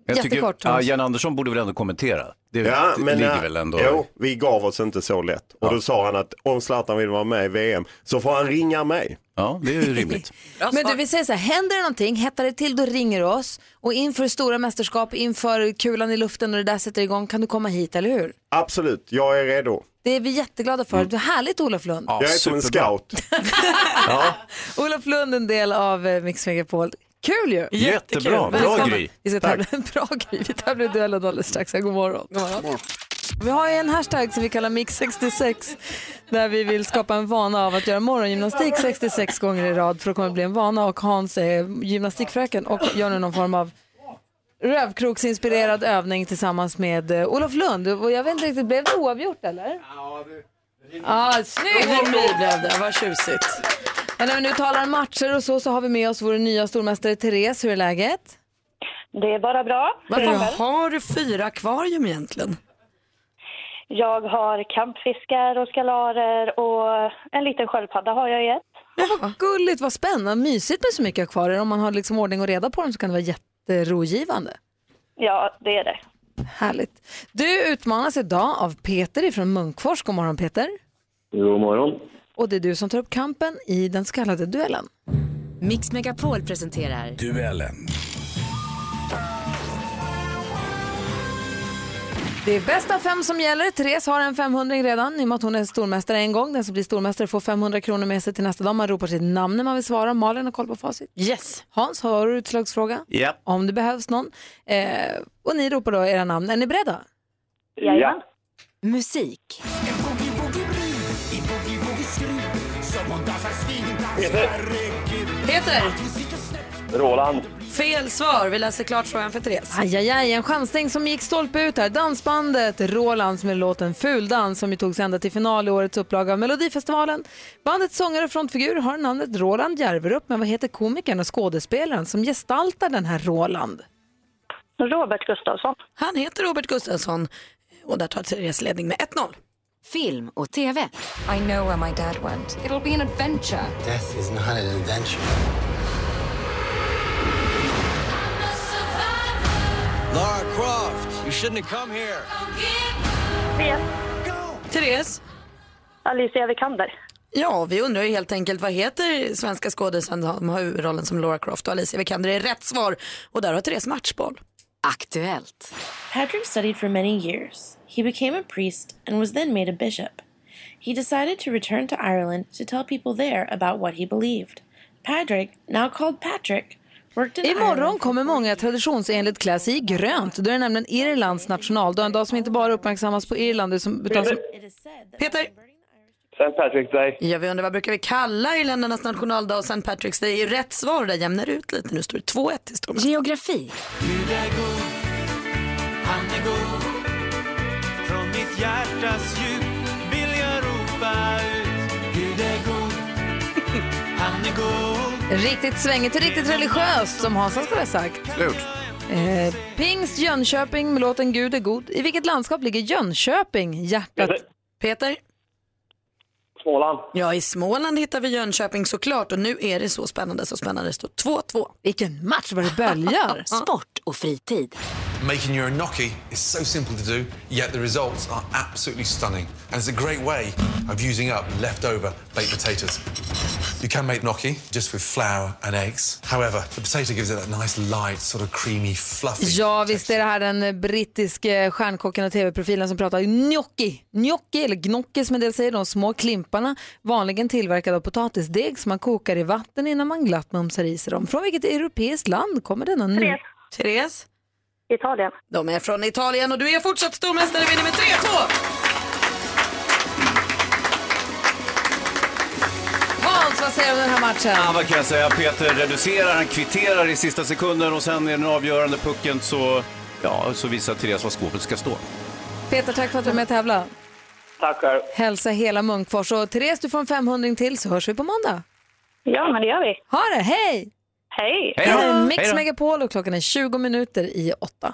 [SPEAKER 3] Jag tycker, ja, Jan Andersson borde väl ändå kommentera? Det
[SPEAKER 14] Ja, men
[SPEAKER 3] ligger
[SPEAKER 14] nej,
[SPEAKER 9] eh,
[SPEAKER 3] väl ändå...
[SPEAKER 14] Jo, vi gav oss inte så lätt. Och då sa han att om Zlatan vill vara med i VM så får han ringa mig.
[SPEAKER 3] Ja, det är ju rimligt.
[SPEAKER 1] Men du, vi säger så här, händer det någonting, hettar det till, då ringer du oss. Och inför stora mästerskap, inför kulan i luften och det där sätter igång, kan du komma hit, eller hur?
[SPEAKER 14] Absolut, jag är redo.
[SPEAKER 1] Det är vi jätteglada för. Det är härligt Olof Lund.
[SPEAKER 14] jag är som en scout.
[SPEAKER 1] Olof Lund, en del av eh, Mix Megapol. Kul ju!
[SPEAKER 3] Jättebra.
[SPEAKER 1] Jättekul.
[SPEAKER 3] Bra
[SPEAKER 1] Vi ska-
[SPEAKER 3] Gry.
[SPEAKER 1] Vi ska tävla en bra Gry. Vi tävlar i duellen alldeles strax. God morgon. God morgon. Vi har ju en hashtag som vi kallar Mix66 där vi vill skapa en vana av att göra morgongymnastik 66 gånger i rad för det kommer att bli en vana och Hans är gymnastikfröken och gör nu någon form av rövkroksinspirerad övning tillsammans med eh, Olof Lund. Och jag vet inte riktigt, blev det oavgjort eller? Ja, snygg remi blev det. Vad tjusigt. Men när vi nu talar om matcher och så, så har vi med oss vår nya stormästare Therese. Hur är läget?
[SPEAKER 12] Det är bara bra.
[SPEAKER 2] Varför har du fyra akvarium egentligen?
[SPEAKER 12] Jag har kampfiskar och skalarer Eh, och en liten sköldpadda har jag i ett.
[SPEAKER 1] Men vad gulligt, vad spännande, mysigt med så mycket akvarier. Om man har liksom ordning och reda på dem så kan det vara jätterogivande.
[SPEAKER 12] Ja, det är det.
[SPEAKER 1] Härligt. Du utmanas idag av Peter från Munkfors. God morgon Peter.
[SPEAKER 15] God morgon.
[SPEAKER 1] Och det är du som tar upp kampen i den så kallade duellen.
[SPEAKER 10] Mix Megapol presenterar
[SPEAKER 16] Duellen.
[SPEAKER 1] Det är bästa av fem som gäller. Therese har en 500 redan i och med att hon är stormästare en gång. Den som blir stormästare får 500 kronor med sig till nästa dag. Man ropar sitt namn när man vill svara. Malin har koll på facit.
[SPEAKER 2] Yes.
[SPEAKER 1] Hans, har du utslagsfråga?
[SPEAKER 3] Ja.
[SPEAKER 1] Om det behövs någon. Eh, och ni ropar då era namn. Är ni beredda?
[SPEAKER 12] Jajamän.
[SPEAKER 1] Musik.
[SPEAKER 2] Peter!
[SPEAKER 15] Roland.
[SPEAKER 2] Fel svar. Vi läser klart frågan för Therese.
[SPEAKER 1] Ajajaj, en chansning som gick stolpe ut här. Dansbandet Rolands med låten Fuldans som ju togs ända till final i årets upplaga av Melodifestivalen. Bandets sångare och frontfigur har namnet Roland Järverup, men vad heter komikern och skådespelaren som gestaltar den här Roland?
[SPEAKER 12] Robert Gustafsson.
[SPEAKER 2] Han heter Robert Gustafsson och där tar Therese ledning med 1-0.
[SPEAKER 10] film och tv.
[SPEAKER 17] I know where my dad went. It'll be an adventure.
[SPEAKER 18] Death is not an adventure. Lara Croft, you shouldn't have come here.
[SPEAKER 2] Therese?
[SPEAKER 12] Alicia Vikander.
[SPEAKER 2] Ja, vi undrar ju helt enkelt vad heter svenska skådisen som har huvudrollen som Laura Croft och Alicia Vikander är rätt svar. Och där har Therese matchboll.
[SPEAKER 10] Aktuellt.
[SPEAKER 19] Patrick studied for many years. He became a priest and was then made a bishop. He decided to return to Ireland to tell people there about what he believed. Patrick, now called Patrick, worked in
[SPEAKER 1] Imorgon
[SPEAKER 19] Ireland.
[SPEAKER 1] kommer många traditionsenligt klä sig i grönt. Då är det nämligen Irlands nationaldag, en dag som inte bara uppmärksammas på Irland utan som...
[SPEAKER 2] Peter!
[SPEAKER 15] St. Patrick's Day.
[SPEAKER 2] Ja, vi undrar vad brukar vi kalla irländarnas nationaldag och St. Patrick's Day? Är Rätt svar där jämnar ut lite. Nu står det 2-1 till Stormen.
[SPEAKER 10] Geografi.
[SPEAKER 13] Gud är god, han är god. Från mitt hjärtas djup vill jag ropa ut. Gud är god, han är god.
[SPEAKER 1] Riktigt svängigt och riktigt religiöst som Hansa skulle ha sagt.
[SPEAKER 3] Slut.
[SPEAKER 1] Eh, Pingst Jönköping med låten Gud är god. I vilket landskap ligger Jönköping? Hjärtat.
[SPEAKER 2] Peter?
[SPEAKER 15] Småland.
[SPEAKER 2] Ja, i Småland hittar vi Jönköping såklart och nu är det så spännande, så spännande. Det står 2-2.
[SPEAKER 1] Vilken match vad det böljar.
[SPEAKER 10] Sport och fritid.
[SPEAKER 4] Making your gnocchi is so simple to do, yet the results are absolutely stunning. And it's a great way of using up leftover baked potatoes. You can make gnocchi just with flour and eggs. However, the potato gives it that nice, light, sort of creamy, fluffy.
[SPEAKER 1] Ja, visst är det här den brittiske stjärnkocken och tv-profilen som pratar gnocchi. Gnocchi, eller gnocchi som en del säger, de små klimparna, vanligen tillverkade av potatisdeg som man kokar i vatten innan man glatt mumsar i sig dem. Från vilket europeiskt land kommer denna nu?
[SPEAKER 2] Therese?
[SPEAKER 12] Italien.
[SPEAKER 2] De är från Italien och du är fortsatt stormästare vinner med 3-2.
[SPEAKER 1] Hans, vad säger du om den här matchen?
[SPEAKER 3] Ja, vad kan jag säga? Peter reducerar, han kvitterar i sista sekunden och sen i den avgörande pucken så, ja, så visar Therese var skåpet ska stå.
[SPEAKER 1] Peter, tack för att du var med och tävla.
[SPEAKER 15] Tack själv.
[SPEAKER 1] Hälsa hela Munkfors och Therese, du får en 500 till så hörs vi på måndag.
[SPEAKER 12] Ja, men det gör vi.
[SPEAKER 1] Ha det, hej!
[SPEAKER 12] Hej!
[SPEAKER 1] Det här är Mix Megapol och klockan är 20 minuter i åtta.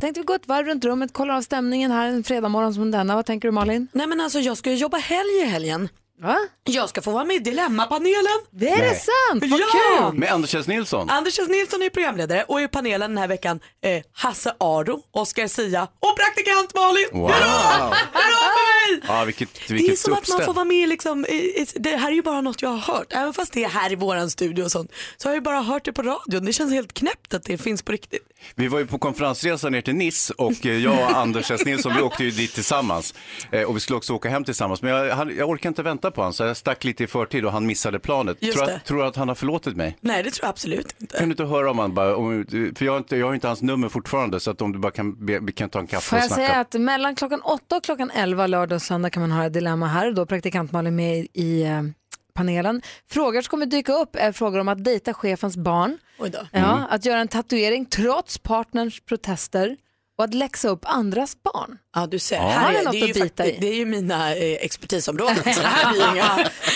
[SPEAKER 1] Tänkte vi gå ett varv runt rummet, kolla av stämningen här en fredagmorgon som denna. Vad tänker du Malin?
[SPEAKER 2] Nej men alltså jag ska ju jobba helg i helgen.
[SPEAKER 1] Va?
[SPEAKER 2] Jag ska få vara med i Dilemmapanelen.
[SPEAKER 1] Det är det sant? Vad
[SPEAKER 2] ja!
[SPEAKER 3] Med Anders S. Nilsson.
[SPEAKER 2] Anders S. Nilsson är programledare och i panelen den här veckan eh, Hasse Aro, Oscar Sia och praktikant Malin.
[SPEAKER 3] Wow.
[SPEAKER 2] Hurra! Hurra för mig!
[SPEAKER 3] Ja, vilket, vilket
[SPEAKER 2] Det är som att man
[SPEAKER 3] uppställ.
[SPEAKER 2] får vara med liksom, i, i, det här är ju bara något jag har hört. Även fast det är här i våran studio och sånt så har jag ju bara hört det på radion. Det känns helt knäppt att det finns på riktigt.
[SPEAKER 3] Vi var ju på konferensresa ner till Nice och eh, jag och Anders S. Nilsson, vi åkte ju dit tillsammans. Eh, Och vi skulle också åka hem tillsammans, men jag, han, jag orkade inte vänta på honom så jag stack lite i förtid och han missade planet.
[SPEAKER 2] Just
[SPEAKER 3] tror,
[SPEAKER 2] det.
[SPEAKER 3] att, tror att han har förlåtit mig?
[SPEAKER 2] Nej det tror jag absolut inte.
[SPEAKER 3] Kan du inte höra om han bara, om, för jag har, inte, jag har inte hans nummer fortfarande så att om du bara kan, be, vi kan ta en kaffe
[SPEAKER 1] Får
[SPEAKER 3] och
[SPEAKER 1] jag
[SPEAKER 3] snacka.
[SPEAKER 1] säga att mellan klockan 8 och klockan 11 lördag och söndag kan man höra Dilemma här och då är praktikant Malin med i eh, panelen. Frågor som kommer dyka upp är frågor om att dejta chefens barn,
[SPEAKER 2] Oj då.
[SPEAKER 1] ja, att göra en tatuering trots partners protester och att läxa upp andras barn.
[SPEAKER 2] Ja du ser,
[SPEAKER 1] Ja.
[SPEAKER 2] här
[SPEAKER 1] Har
[SPEAKER 2] är,
[SPEAKER 1] jag
[SPEAKER 2] det,
[SPEAKER 1] något
[SPEAKER 2] är ju
[SPEAKER 1] att bita
[SPEAKER 2] faktiskt-
[SPEAKER 1] i?
[SPEAKER 2] det är ju mina eh, expertisområden. Så här blir inga...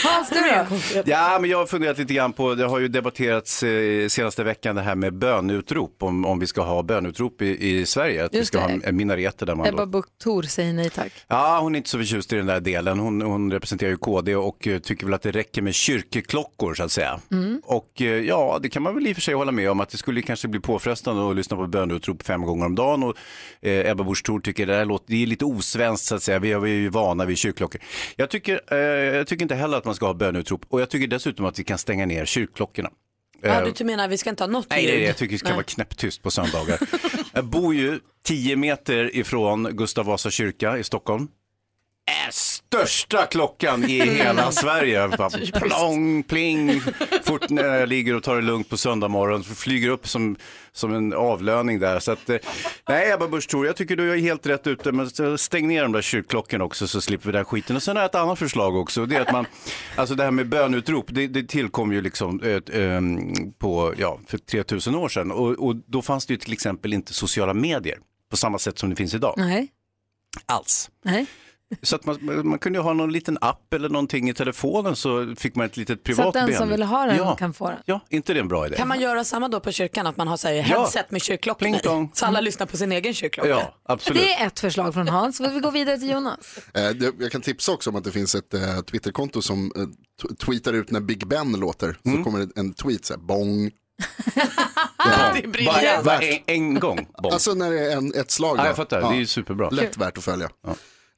[SPEAKER 1] Hans, du då?
[SPEAKER 3] Ja, men jag har funderat lite grann på, det har ju debatterats eh, senaste veckan det här med bönutrop, om, om vi ska ha bönutrop i, i Sverige, att vi
[SPEAKER 1] Just
[SPEAKER 3] ska
[SPEAKER 1] det.
[SPEAKER 3] ha en minareter där man då-
[SPEAKER 1] Ebba Busch Thor säger nej tack.
[SPEAKER 3] Ja, hon är inte så förtjust i den där delen. Hon, hon representerar ju KD och eh, tycker väl att det räcker med kyrkeklockor så att säga.
[SPEAKER 2] Mm.
[SPEAKER 3] Och eh, ja, det kan man väl i och för sig hålla med om att det skulle kanske bli påfrestande att lyssna på böneutrop fem gånger om dagen. Och eh, Ebba Busch Thor tycker det här låter, det är lite osvenskt så att säga. Vi är, vi är ju vana vid kyrkklockor. Jag tycker, eh, jag tycker inte heller att man ska ha böneutrop och jag tycker dessutom att vi kan stänga ner kyrkklockorna. Eh,
[SPEAKER 2] Ja, du menar vi ska inte ha något
[SPEAKER 3] Nej,
[SPEAKER 2] ljud?
[SPEAKER 3] nej, nej, jag tycker det ska
[SPEAKER 2] Nej.
[SPEAKER 3] vara knäpptyst på söndagar. jag bor ju 10 meter ifrån Gustav Vasa kyrka i Stockholm. Är Största klockan i hela Sverige. Bara Plong, pling. Fort när jag ligger och tar det lugnt på söndag morgon. så Flyger upp som, som en avlöning där. Så att, eh, nej, Ebba Busch Thor, jag tycker du är helt rätt ute. Men så stäng ner de där kyrkklockorna också så slipper vi den skiten. Och sen har jag ett annat förslag också. Det är att man, alltså det här med bönutrop, det, det tillkom ju liksom eh, eh, på, ja, för 3000 år sedan. Och, och då fanns det ju till exempel inte sociala medier på samma sätt som det finns idag.
[SPEAKER 1] Nej.
[SPEAKER 3] Alls.
[SPEAKER 1] Nej.
[SPEAKER 3] Så att man, man kunde ju ha någon liten app eller någonting i telefonen så fick man ett litet privat
[SPEAKER 1] Så att den
[SPEAKER 3] ben.
[SPEAKER 1] som vill ha den
[SPEAKER 3] ja.
[SPEAKER 1] kan få den.
[SPEAKER 3] Ja, inte det en bra idé?
[SPEAKER 2] Kan man göra samma då på kyrkan, att man har så här headset med kyrkklockan i? Så
[SPEAKER 9] Mm.
[SPEAKER 2] alla lyssnar på sin egen kyrkklocka?
[SPEAKER 3] Ja, absolut.
[SPEAKER 1] Det är ett förslag från Hans. Vi går vidare till Jonas.
[SPEAKER 9] Eh, det- Jag kan tipsa också om att det finns ett eh, Twitterkonto som eh, t- tweetar ut när Big Ben låter. Så
[SPEAKER 3] Mm.
[SPEAKER 9] kommer det en tweet så här, bong.
[SPEAKER 2] Det är briljant.
[SPEAKER 3] Bara en, en gång. Bong.
[SPEAKER 9] Alltså när det är en, ett slag.
[SPEAKER 3] Ja,
[SPEAKER 9] då.
[SPEAKER 3] jag fattar. Det är ju superbra.
[SPEAKER 9] Lätt
[SPEAKER 3] Kul.
[SPEAKER 9] värt att följa.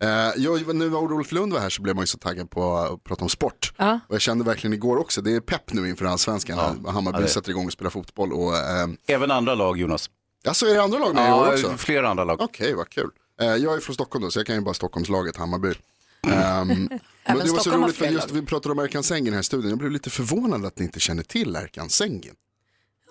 [SPEAKER 9] Eh, jag, nu när Olof Lund var här så blev man ju så taggad på att prata om sport.
[SPEAKER 1] Ja.
[SPEAKER 9] Och jag kände verkligen igår också, det är pepp nu inför allsvenskan. när Hammarby
[SPEAKER 3] Ja, det-
[SPEAKER 9] sätter igång och spelar fotboll. Och, eh,
[SPEAKER 3] Även andra lag, Jonas.
[SPEAKER 9] alltså är det andra lag med i år också?
[SPEAKER 3] flera andra lag.
[SPEAKER 9] Okej, vad kul. Eh, jag är från Stockholm då, så jag kan ju bara Stockholmslaget Hammarby. Ehm, men det var så
[SPEAKER 2] Stockholm har
[SPEAKER 9] roligt, för
[SPEAKER 2] fler
[SPEAKER 9] just, vi pratade om Erkan Sängen i den här studion. Jag blev lite förvånad att ni inte känner till Erkan Sängen.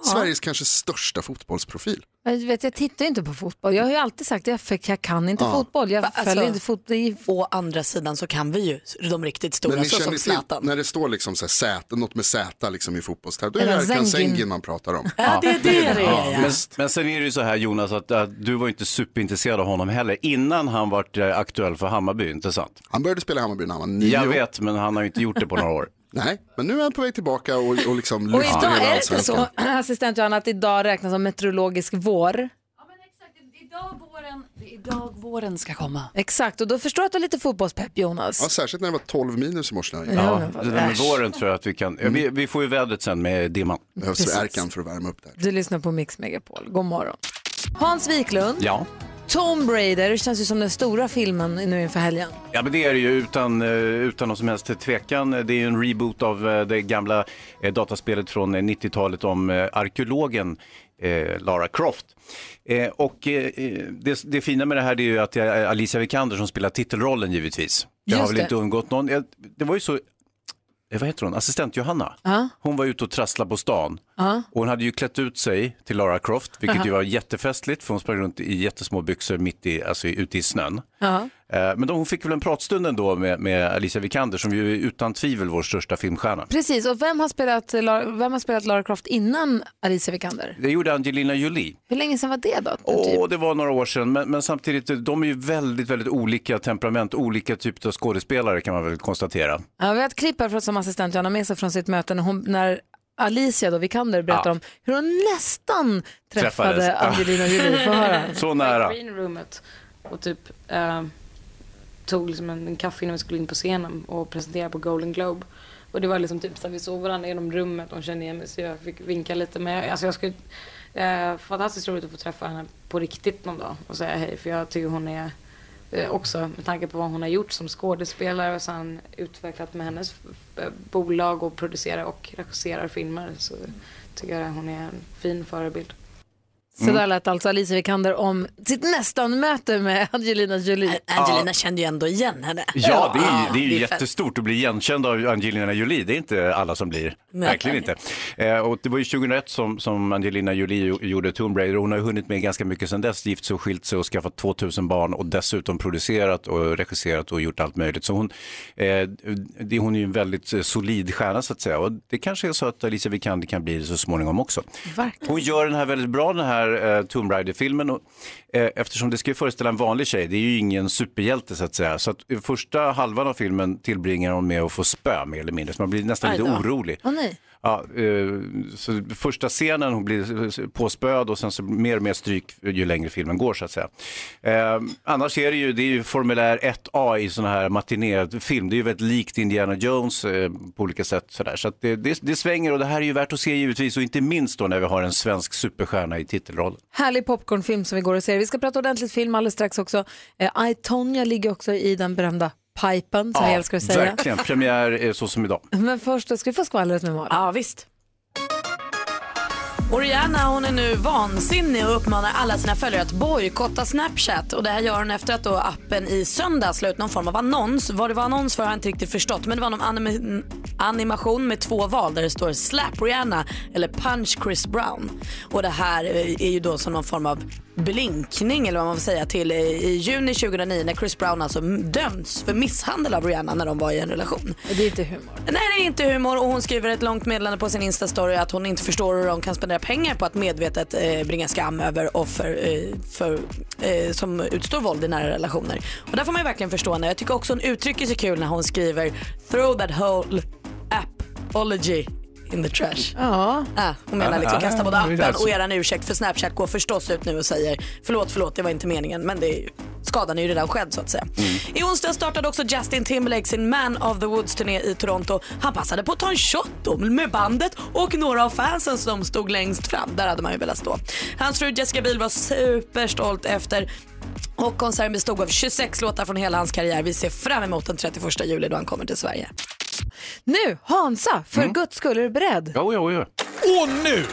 [SPEAKER 9] Sveriges kanske största fotbollsprofil.
[SPEAKER 1] Jag, vet, jag tittar ju inte på fotboll. Jag har ju alltid sagt att jag, för jag kan inte
[SPEAKER 9] Ja.
[SPEAKER 1] fotboll. Jag
[SPEAKER 2] Alltså,
[SPEAKER 1] följer inte fotboll. i-
[SPEAKER 2] Å andra sidan så kan vi ju de riktigt stora,
[SPEAKER 9] men ni
[SPEAKER 2] så som
[SPEAKER 9] känner till
[SPEAKER 2] Zlatan.
[SPEAKER 9] när det står liksom så här, Z, något med Z liksom i fotbollstävling. Då är
[SPEAKER 2] Eller
[SPEAKER 9] det Erkan
[SPEAKER 2] Zengin.
[SPEAKER 9] Sängen man pratar om.
[SPEAKER 2] Ja, det är det det
[SPEAKER 3] Ja,
[SPEAKER 2] är. ja.
[SPEAKER 3] men, men sen är det ju så här Jonas att, att du var ju inte superintresserad av honom heller innan han var aktuell för Hammarby, inte sant?
[SPEAKER 9] Han började spela i Hammarby när han var nio.
[SPEAKER 3] Jag vet, men han har ju inte gjort det på några år.
[SPEAKER 9] Nej, men nu är han på väg tillbaka och, och liksom
[SPEAKER 1] Och
[SPEAKER 9] lyfter
[SPEAKER 1] idag
[SPEAKER 9] hela
[SPEAKER 1] är det inte
[SPEAKER 9] allsvenskan.
[SPEAKER 1] så, assistent Johanna, att idag räknas som meteorologisk vår.
[SPEAKER 10] Idag våren, idag våren ska komma.
[SPEAKER 1] Exakt, och då förstår jag att du har lite fotbollspepp Jonas.
[SPEAKER 9] Ja, särskilt när det var 12 minus i morse. när jag gick.
[SPEAKER 3] Ja, det där med våren tror jag att vi kan, ja, vi, vi får ju vädret sen med dimman.
[SPEAKER 9] Behövs Erkan för att värma upp där.
[SPEAKER 1] Du lyssnar på Mix Megapol, god morgon. Hans Wiklund,
[SPEAKER 3] Ja.
[SPEAKER 1] Tomb Raider, det känns ju som den stora filmen nu inför helgen.
[SPEAKER 3] Ja, men det är det ju utan, eh, utan någon som helst tvekan. Det är ju en reboot av eh, det gamla eh, dataspelet från eh, 90-talet om eh, arkeologen eh, Lara Croft. Eh, Och eh, eh, det, det fina med det här det är ju att det är Alicia Vikander som spelar titelrollen givetvis. Det har
[SPEAKER 1] Just
[SPEAKER 3] väl
[SPEAKER 1] det.
[SPEAKER 3] inte undgått någon. Eh, Det var ju så, eh, vad heter hon, assistent Johanna.
[SPEAKER 1] Ja.
[SPEAKER 3] Hon var ute och trasslade på stan.
[SPEAKER 1] Ja.
[SPEAKER 3] Och hon hade ju klätt ut sig till Lara Croft, vilket ju
[SPEAKER 1] Aha.
[SPEAKER 3] var jättefestligt för hon sprang runt i jättesmå byxor mitt i, alltså ute i snön.
[SPEAKER 1] Ja.
[SPEAKER 3] Eh, Men de, hon fick väl en pratstund ändå med, med Alicia Vikander som ju är utan tvivel vår största filmstjärna.
[SPEAKER 1] Precis, och vem har, spelat, Lara- vem har spelat Lara Croft innan Alicia Vikander?
[SPEAKER 3] Det gjorde Angelina Jolie.
[SPEAKER 1] Hur länge sedan var det då?
[SPEAKER 3] Åh, det var några år sedan, men, men samtidigt, de är ju väldigt, väldigt olika temperament, olika typer av skådespelare kan man väl konstatera.
[SPEAKER 1] Ja, vi har ett klipp här från- som assistent Johanna med sig från sitt möte när, hon, när Alicia då, Vikander, berättar
[SPEAKER 3] Ja.
[SPEAKER 1] om hur hon nästan träffade
[SPEAKER 3] Träffades.
[SPEAKER 1] Angelina Jolie. Få höra.
[SPEAKER 3] Så nära.
[SPEAKER 16] green roomet och typ eh, tog liksom en, en kaffe innan vi skulle in på scenen och presentera på Golden Globe. Och det var liksom typ så att vi såg varandra genom rummet, de kände igen mig så jag fick vinka lite. Men jag, alltså jag skulle, eh, fantastiskt roligt att få träffa henne på riktigt någon dag och säga hej för jag tycker hon är eh, också med tanke på vad hon har gjort som skådespelare och sen utvecklat med hennes eh, bolag och producerar och regisserar filmer så tycker jag hon är en fin förebild.
[SPEAKER 3] Mm.
[SPEAKER 1] Så där lät alltså Alicia Vikander om sitt nästan-möte med Angelina Jolie.
[SPEAKER 2] Angelina kände ju ändå igen henne.
[SPEAKER 3] Ja, det är, ju- det är ju
[SPEAKER 2] det är fett.
[SPEAKER 3] jättestort att bli igenkänd av Angelina Jolie. Det är inte alla som blir.
[SPEAKER 2] Nej.
[SPEAKER 3] Verkligen inte. Eh, och det var ju 2001 som, som Angelina Jolie jo- gjorde Tomb Raider. Hon har ju hunnit med ganska mycket sedan dess. Gift sig och skilt sig och skaffat 2000 barn och dessutom producerat och regisserat och gjort allt möjligt. Så hon, eh, det, hon är ju en väldigt eh, solid stjärna så att säga. Och det kanske är så att Alicia Vikander kan bli det så småningom också. Hon gör den här väldigt bra, den här eh, Tomb Raider-filmen. Och, eh, eftersom det ska ju föreställa en vanlig tjej, det är ju ingen superhjälte så att säga. Så att i första halvan av filmen tillbringar hon med att få spö mer eller mindre. Så man blir nästan
[SPEAKER 1] Aj
[SPEAKER 3] lite
[SPEAKER 1] då.
[SPEAKER 3] orolig.
[SPEAKER 1] Åh nej.
[SPEAKER 3] Ja, eh, så första scenen hon blir påspöd och sen så mer och mer stryk ju längre filmen går så att säga. Eh, annars är det ju, det är ju formulär 1A i sådana här matinéfilm. Det är ju väldigt likt Indiana Jones eh, på olika sätt sådär. Så att det, det, det svänger och det här är ju värt att se givetvis och inte minst då när vi har en svensk superstjärna i titelrollen.
[SPEAKER 1] Härlig popcornfilm som vi går och ser. Vi ska prata ordentligt film alldeles strax också. Eh, I, Tonya ligger också i den berömda pipen som jag älskar att säga.
[SPEAKER 3] verkligen. Premiär eh, så som idag.
[SPEAKER 1] Men först då ska vi få skvallret med Malin.
[SPEAKER 2] Ja, visst. Oriana hon är nu vansinnig och uppmanar alla sina följare att bojkotta Snapchat. Och det här gör hon efter att då appen i söndags la ut någon form av annons. Vad det var annons för har jag inte riktigt förstått. Men det var någon anim- animation med två val där det står Slap Rihanna eller Punch Chris Brown. Och det här eh, är ju då som någon form av blinkning eller vad man får säga till eh, i juni 2009 när Chris Brown alltså m- döms för misshandel av Rihanna när de var i en relation.
[SPEAKER 1] Det är inte humor.
[SPEAKER 2] Nej, det är inte humor och hon skriver ett långt meddelande på sin Insta-story att hon inte förstår hur de kan spendera pengar på att medvetet eh, bringa skam över offer eh, för, eh, som utstår våld i nära relationer. Och där får man ju verkligen förstå henne. Jag tycker också hon uttrycker sig kul när hon skriver “throw that whole apology in the trash”.
[SPEAKER 1] Ja.
[SPEAKER 2] Ah, hon menar liksom
[SPEAKER 1] Ja,
[SPEAKER 2] kasta både
[SPEAKER 1] ja, det är
[SPEAKER 2] appen
[SPEAKER 1] så.
[SPEAKER 2] och eran ursäkt för Snapchat går förstås ut nu och säger “förlåt, förlåt, det var inte meningen” men det är ju, skadan är ju redan skedd så att säga.
[SPEAKER 1] Mm.
[SPEAKER 2] I onsdag startade också Justin Timberlake sin Man of the Woods-turné i Toronto. Han passade på att ta en shot då med bandet och några av fansen som stod längst fram. Där hade man ju velat stå. Hans fru Jessica Biel var superstolt efter och konserten bestod av 26 låtar från hela hans karriär. Vi ser fram emot den 31 juli då han kommer till Sverige.
[SPEAKER 1] Nu, Hansa, för guds skull, är du beredd?
[SPEAKER 3] Mm. Jo, jo, jo.
[SPEAKER 20] Och nu,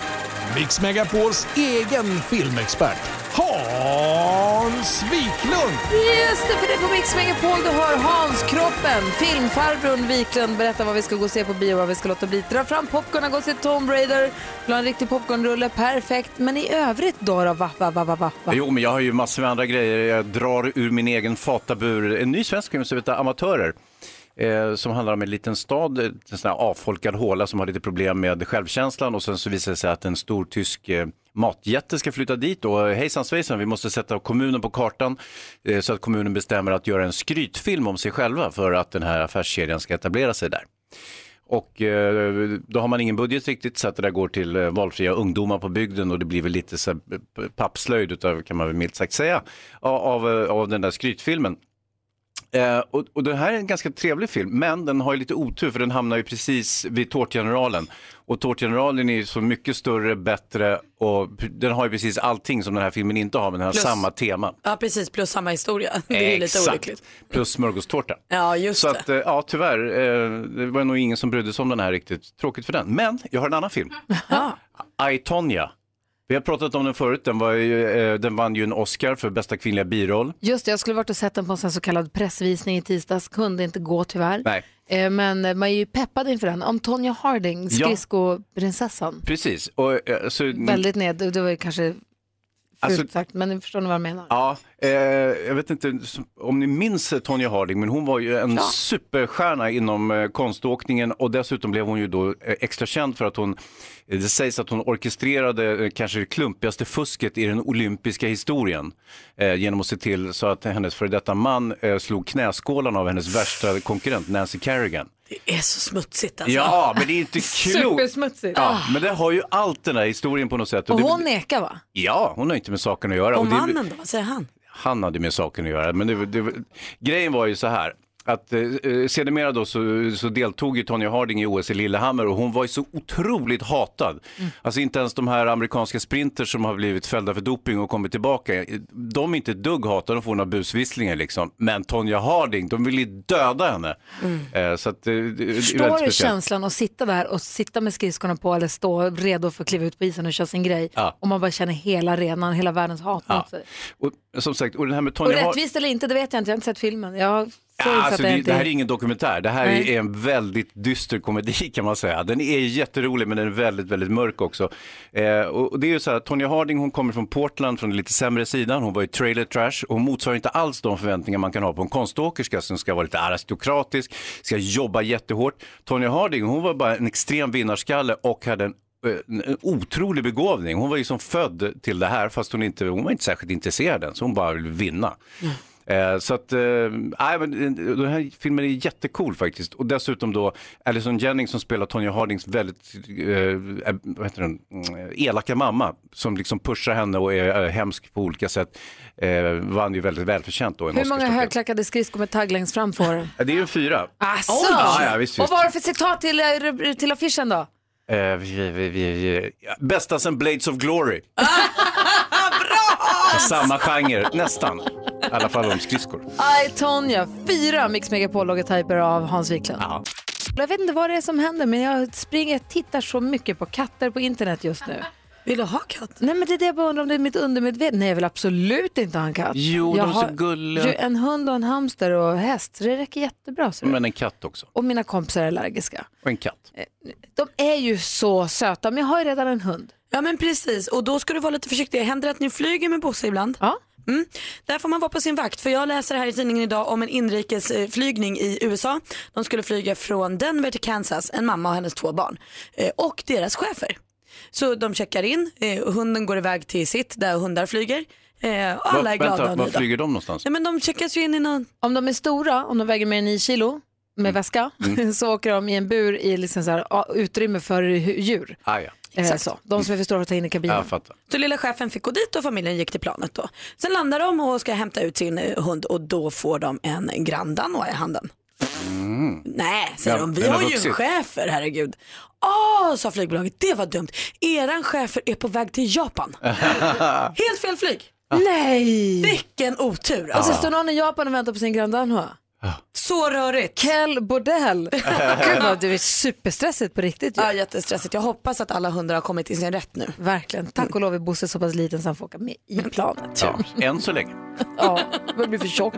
[SPEAKER 20] Mix Megapols egen filmexpert, Hans Wiklund!
[SPEAKER 1] Just det, för det är på Mix Megapol du hör Hans Kroppen, filmfarbrorn Wiklund berätta vad vi ska gå och se på bio, vad vi ska låta bli. Dra fram popcornen, gå och se Tomb Raider, vill ha en riktig popcornrulle, perfekt. Men i övrigt då, då va, va, va, va, va, va.
[SPEAKER 3] Jo, men jag har ju massor med andra grejer. Jag drar ur min egen fatabur en ny svensk film som heter Amatörer. Eh, som handlar om en liten stad, en sån här avfolkad håla som har lite problem med självkänslan och sen så visar det sig att en stor tysk eh, matjätte ska flytta dit och eh, hejsan svejsan, vi måste sätta kommunen på kartan eh, så att kommunen bestämmer att göra en skrytfilm om sig själva för att den här affärskedjan ska etablera sig där. Och eh, då har man ingen budget riktigt så att det där går till eh, valfria ungdomar på bygden och det blir väl lite så här, eh, pappslöjd utav, kan man väl milt sagt säga, av, av, eh, av den där skrytfilmen. Eh, och, och den här är en ganska trevlig film, men den har ju lite otur för den hamnar ju precis vid Tårtgeneralen. Och Tårtgeneralen är ju så mycket större, bättre och p- den har ju precis allting som den här filmen inte har, men den har
[SPEAKER 2] Plus-
[SPEAKER 3] samma tema.
[SPEAKER 2] Ja precis, plus samma historia. Det är ju lite
[SPEAKER 3] Exakt.
[SPEAKER 2] olyckligt.
[SPEAKER 3] Plus smörgåstårta.
[SPEAKER 2] Ja, just
[SPEAKER 3] så att, eh, ja, tyvärr, eh, det var nog ingen som brydde sig om den här riktigt. Tråkigt för den. Men jag har en annan film. I, Tonya. Vi har pratat om den förut. Den, var ju, eh, den vann ju en Oscar för bästa kvinnliga biroll.
[SPEAKER 1] Just det, jag skulle varit och sett den på en sån så kallad pressvisning i tisdags, kunde inte gå tyvärr.
[SPEAKER 3] Nej.
[SPEAKER 1] Eh, Men man är ju peppad inför den. Om Tonya Harding,
[SPEAKER 3] Ja. Mm.
[SPEAKER 1] skridskoprinsessan,
[SPEAKER 3] Precis. Och, eh, så,
[SPEAKER 1] väldigt ned, det var ju kanske fult
[SPEAKER 3] Alltså-
[SPEAKER 1] sagt, men förstår ni vad jag menar?
[SPEAKER 3] Ja, eh, jag vet inte om ni minns Tonya Harding, men hon var ju en superstjärna inom eh, konståkningen och dessutom blev hon ju då eh, extra känd för att hon, eh, det sägs att hon orkestrerade eh, kanske det klumpigaste fusket i den olympiska historien eh, genom att se till så att hennes före detta man eh, slog knäskålarna av hennes värsta konkurrent Nancy Kerrigan.
[SPEAKER 2] Det är så Ah. smutsigt alltså.
[SPEAKER 3] Ja, men det är inte klokt.
[SPEAKER 1] Supersmutsigt.
[SPEAKER 3] Ja, men det har ju allt den här historien på något sätt.
[SPEAKER 1] Och
[SPEAKER 3] det-
[SPEAKER 1] hon nekar va?
[SPEAKER 3] Ja, hon har inte med saken att göra.
[SPEAKER 2] Och
[SPEAKER 3] det-
[SPEAKER 2] mannen då, vad säger han?
[SPEAKER 3] han hade med saken att göra. Men det, det, grejen var ju så här. Att eh, eh, sedermera då så, så deltog ju Tonya Harding i OS i Lillehammer och hon var ju så otroligt hatad.
[SPEAKER 1] Mm.
[SPEAKER 3] Alltså inte ens de här amerikanska sprinters som har blivit fällda för doping och kommit tillbaka, eh, de är inte ett dugg hatade, de får några busvisslingar liksom. Men Tonya Harding, de vill ju döda henne. Eh, så att, eh, det, det är väldigt
[SPEAKER 1] Mm. Förstår du
[SPEAKER 3] speciellt.
[SPEAKER 1] känslan att sitta där och sitta med skridskorna på eller stå redo för att kliva ut på isen och köra sin grej
[SPEAKER 3] Ja.
[SPEAKER 1] och man bara känner hela arenan, hela världens hat
[SPEAKER 3] Ja.
[SPEAKER 1] mot sig.
[SPEAKER 3] Och, som sagt, och den här med
[SPEAKER 1] Och
[SPEAKER 3] Tonya Harding...
[SPEAKER 1] rättvist eller inte, det vet jag inte, jag har inte sett filmen. Jag har så
[SPEAKER 3] Ja,
[SPEAKER 1] insatt
[SPEAKER 3] alltså
[SPEAKER 1] är jag
[SPEAKER 3] det,
[SPEAKER 1] inte
[SPEAKER 3] det här är
[SPEAKER 1] i.
[SPEAKER 3] ingen dokumentär, det här
[SPEAKER 1] Nej.
[SPEAKER 3] är en väldigt dyster komedi kan man säga. Den är jätterolig men den är väldigt, väldigt mörk också. Eh, och och det är ju så här, Tonya Harding hon kommer från Portland från den lite sämre sidan, hon var ju trailer trash och hon motsvarar inte alls de förväntningar man kan ha på en konståkerska som ska vara lite aristokratisk, ska jobba jättehårt. Tonya Harding hon var bara en extrem vinnarskalle och hade en eh, en otrolig begåvning. Hon var ju som född till det här fast hon, inte, hon var inte särskilt intresserad än så hon bara ville vinna. Eh, Så att, eh, nej, men eh, den här filmen är jättecool faktiskt. Och dessutom då Allison Jennings som spelar Tonya Hardings väldigt, eh, eh, vad heter den, Mm, elaka mamma som liksom pushar henne och är eh, hemsk på olika sätt. Eh, vann ju väldigt välförtjänt då en
[SPEAKER 1] Hur många
[SPEAKER 3] Oscarsstatuett.
[SPEAKER 1] högklackade skridskor med tagg längst fram får den?
[SPEAKER 3] Ja, Det är ju en fyra.
[SPEAKER 1] Asså!
[SPEAKER 3] Ja, ja, visst,
[SPEAKER 1] och
[SPEAKER 3] visst.
[SPEAKER 1] vad har du för citat till, eh, rub- till affischen då?
[SPEAKER 3] Eh, vi, vi, vi, vi. ja, Bästa sen Blades of Glory. Bra! Samma genre, nästan. I alla fall om skridskor.
[SPEAKER 1] I, Tonya, fyra Mix Megapol-logotyper av Hans Wiklund. Jag vet inte vad det är som händer men jag springer, jag tittar så mycket på katter på internet just nu.
[SPEAKER 2] Vill du ha katt?
[SPEAKER 1] Nej men det är det jag bara undrar om det är mitt undermedvetna. Nej jag vill absolut inte ha en katt.
[SPEAKER 3] Jo,
[SPEAKER 1] jag
[SPEAKER 3] de är så gulliga.
[SPEAKER 1] ju En hund och en hamster och häst, så det räcker jättebra.
[SPEAKER 2] Mm.
[SPEAKER 1] Så
[SPEAKER 3] Men en katt också.
[SPEAKER 1] Och mina kompisar är allergiska.
[SPEAKER 3] Och en katt.
[SPEAKER 1] Eh, De är ju så söta men jag har ju redan en hund.
[SPEAKER 2] Ja men precis och då ska du vara lite försiktig. Händer det att ni flyger med Bosse ibland?
[SPEAKER 1] Ja.
[SPEAKER 2] Mm. Där får man vara på sin vakt för jag läser här i tidningen idag om en inrikesflygning i USA. De skulle flyga från Denver till Kansas, en mamma och hennes två barn eh, och deras chefer. Så de checkar in, eh, och hunden går iväg till sitt där hundar flyger. eh, Och alla
[SPEAKER 3] Var-
[SPEAKER 2] är glada
[SPEAKER 3] vänta,
[SPEAKER 2] och
[SPEAKER 3] var
[SPEAKER 2] nöjda.
[SPEAKER 3] flyger de någonstans?
[SPEAKER 2] Nej, men de checkas ju in i någon...
[SPEAKER 1] Om de är stora, om de väger mer än 9 kilo med väska,
[SPEAKER 3] Mm.
[SPEAKER 1] så åker de i en bur i liksom så här, ja, utrymme för hu- djur.
[SPEAKER 3] Ah, ja.
[SPEAKER 1] Eh, så. De som är för stora för att ta in i kabinen. Typ,
[SPEAKER 3] Jag fattar.
[SPEAKER 2] Så lilla chefen fick gå dit och familjen gick till planet då. Sen landar de och ska hämta ut sin eh, hund och då får de en Grand Danois i handen.
[SPEAKER 3] Mm.
[SPEAKER 2] Nej, säger
[SPEAKER 13] Ja,
[SPEAKER 2] de. Vi
[SPEAKER 13] den har
[SPEAKER 2] har ju en
[SPEAKER 13] vuxit.
[SPEAKER 2] chefer, herregud. Åh, sa flygbolaget, det var dumt. Eran chefer är på väg till Japan. Helt fel flyg.
[SPEAKER 1] Nej!
[SPEAKER 2] Vilken otur.
[SPEAKER 1] Och så
[SPEAKER 2] alltså.
[SPEAKER 1] står någon i Japan och väntar på sin Grand Danois.
[SPEAKER 2] Så rörigt.
[SPEAKER 1] Kell Bordell. Gud vad det är superstressigt på riktigt ju.
[SPEAKER 2] Ja, jättestressigt. Jag hoppas att alla hundar har kommit till sin rätt nu.
[SPEAKER 1] Verkligen. Tack och lov är Bosse så pass liten så han får åka med i planet.
[SPEAKER 3] Ja, än så länge. Mm.
[SPEAKER 1] Ja, jag blir för tjock.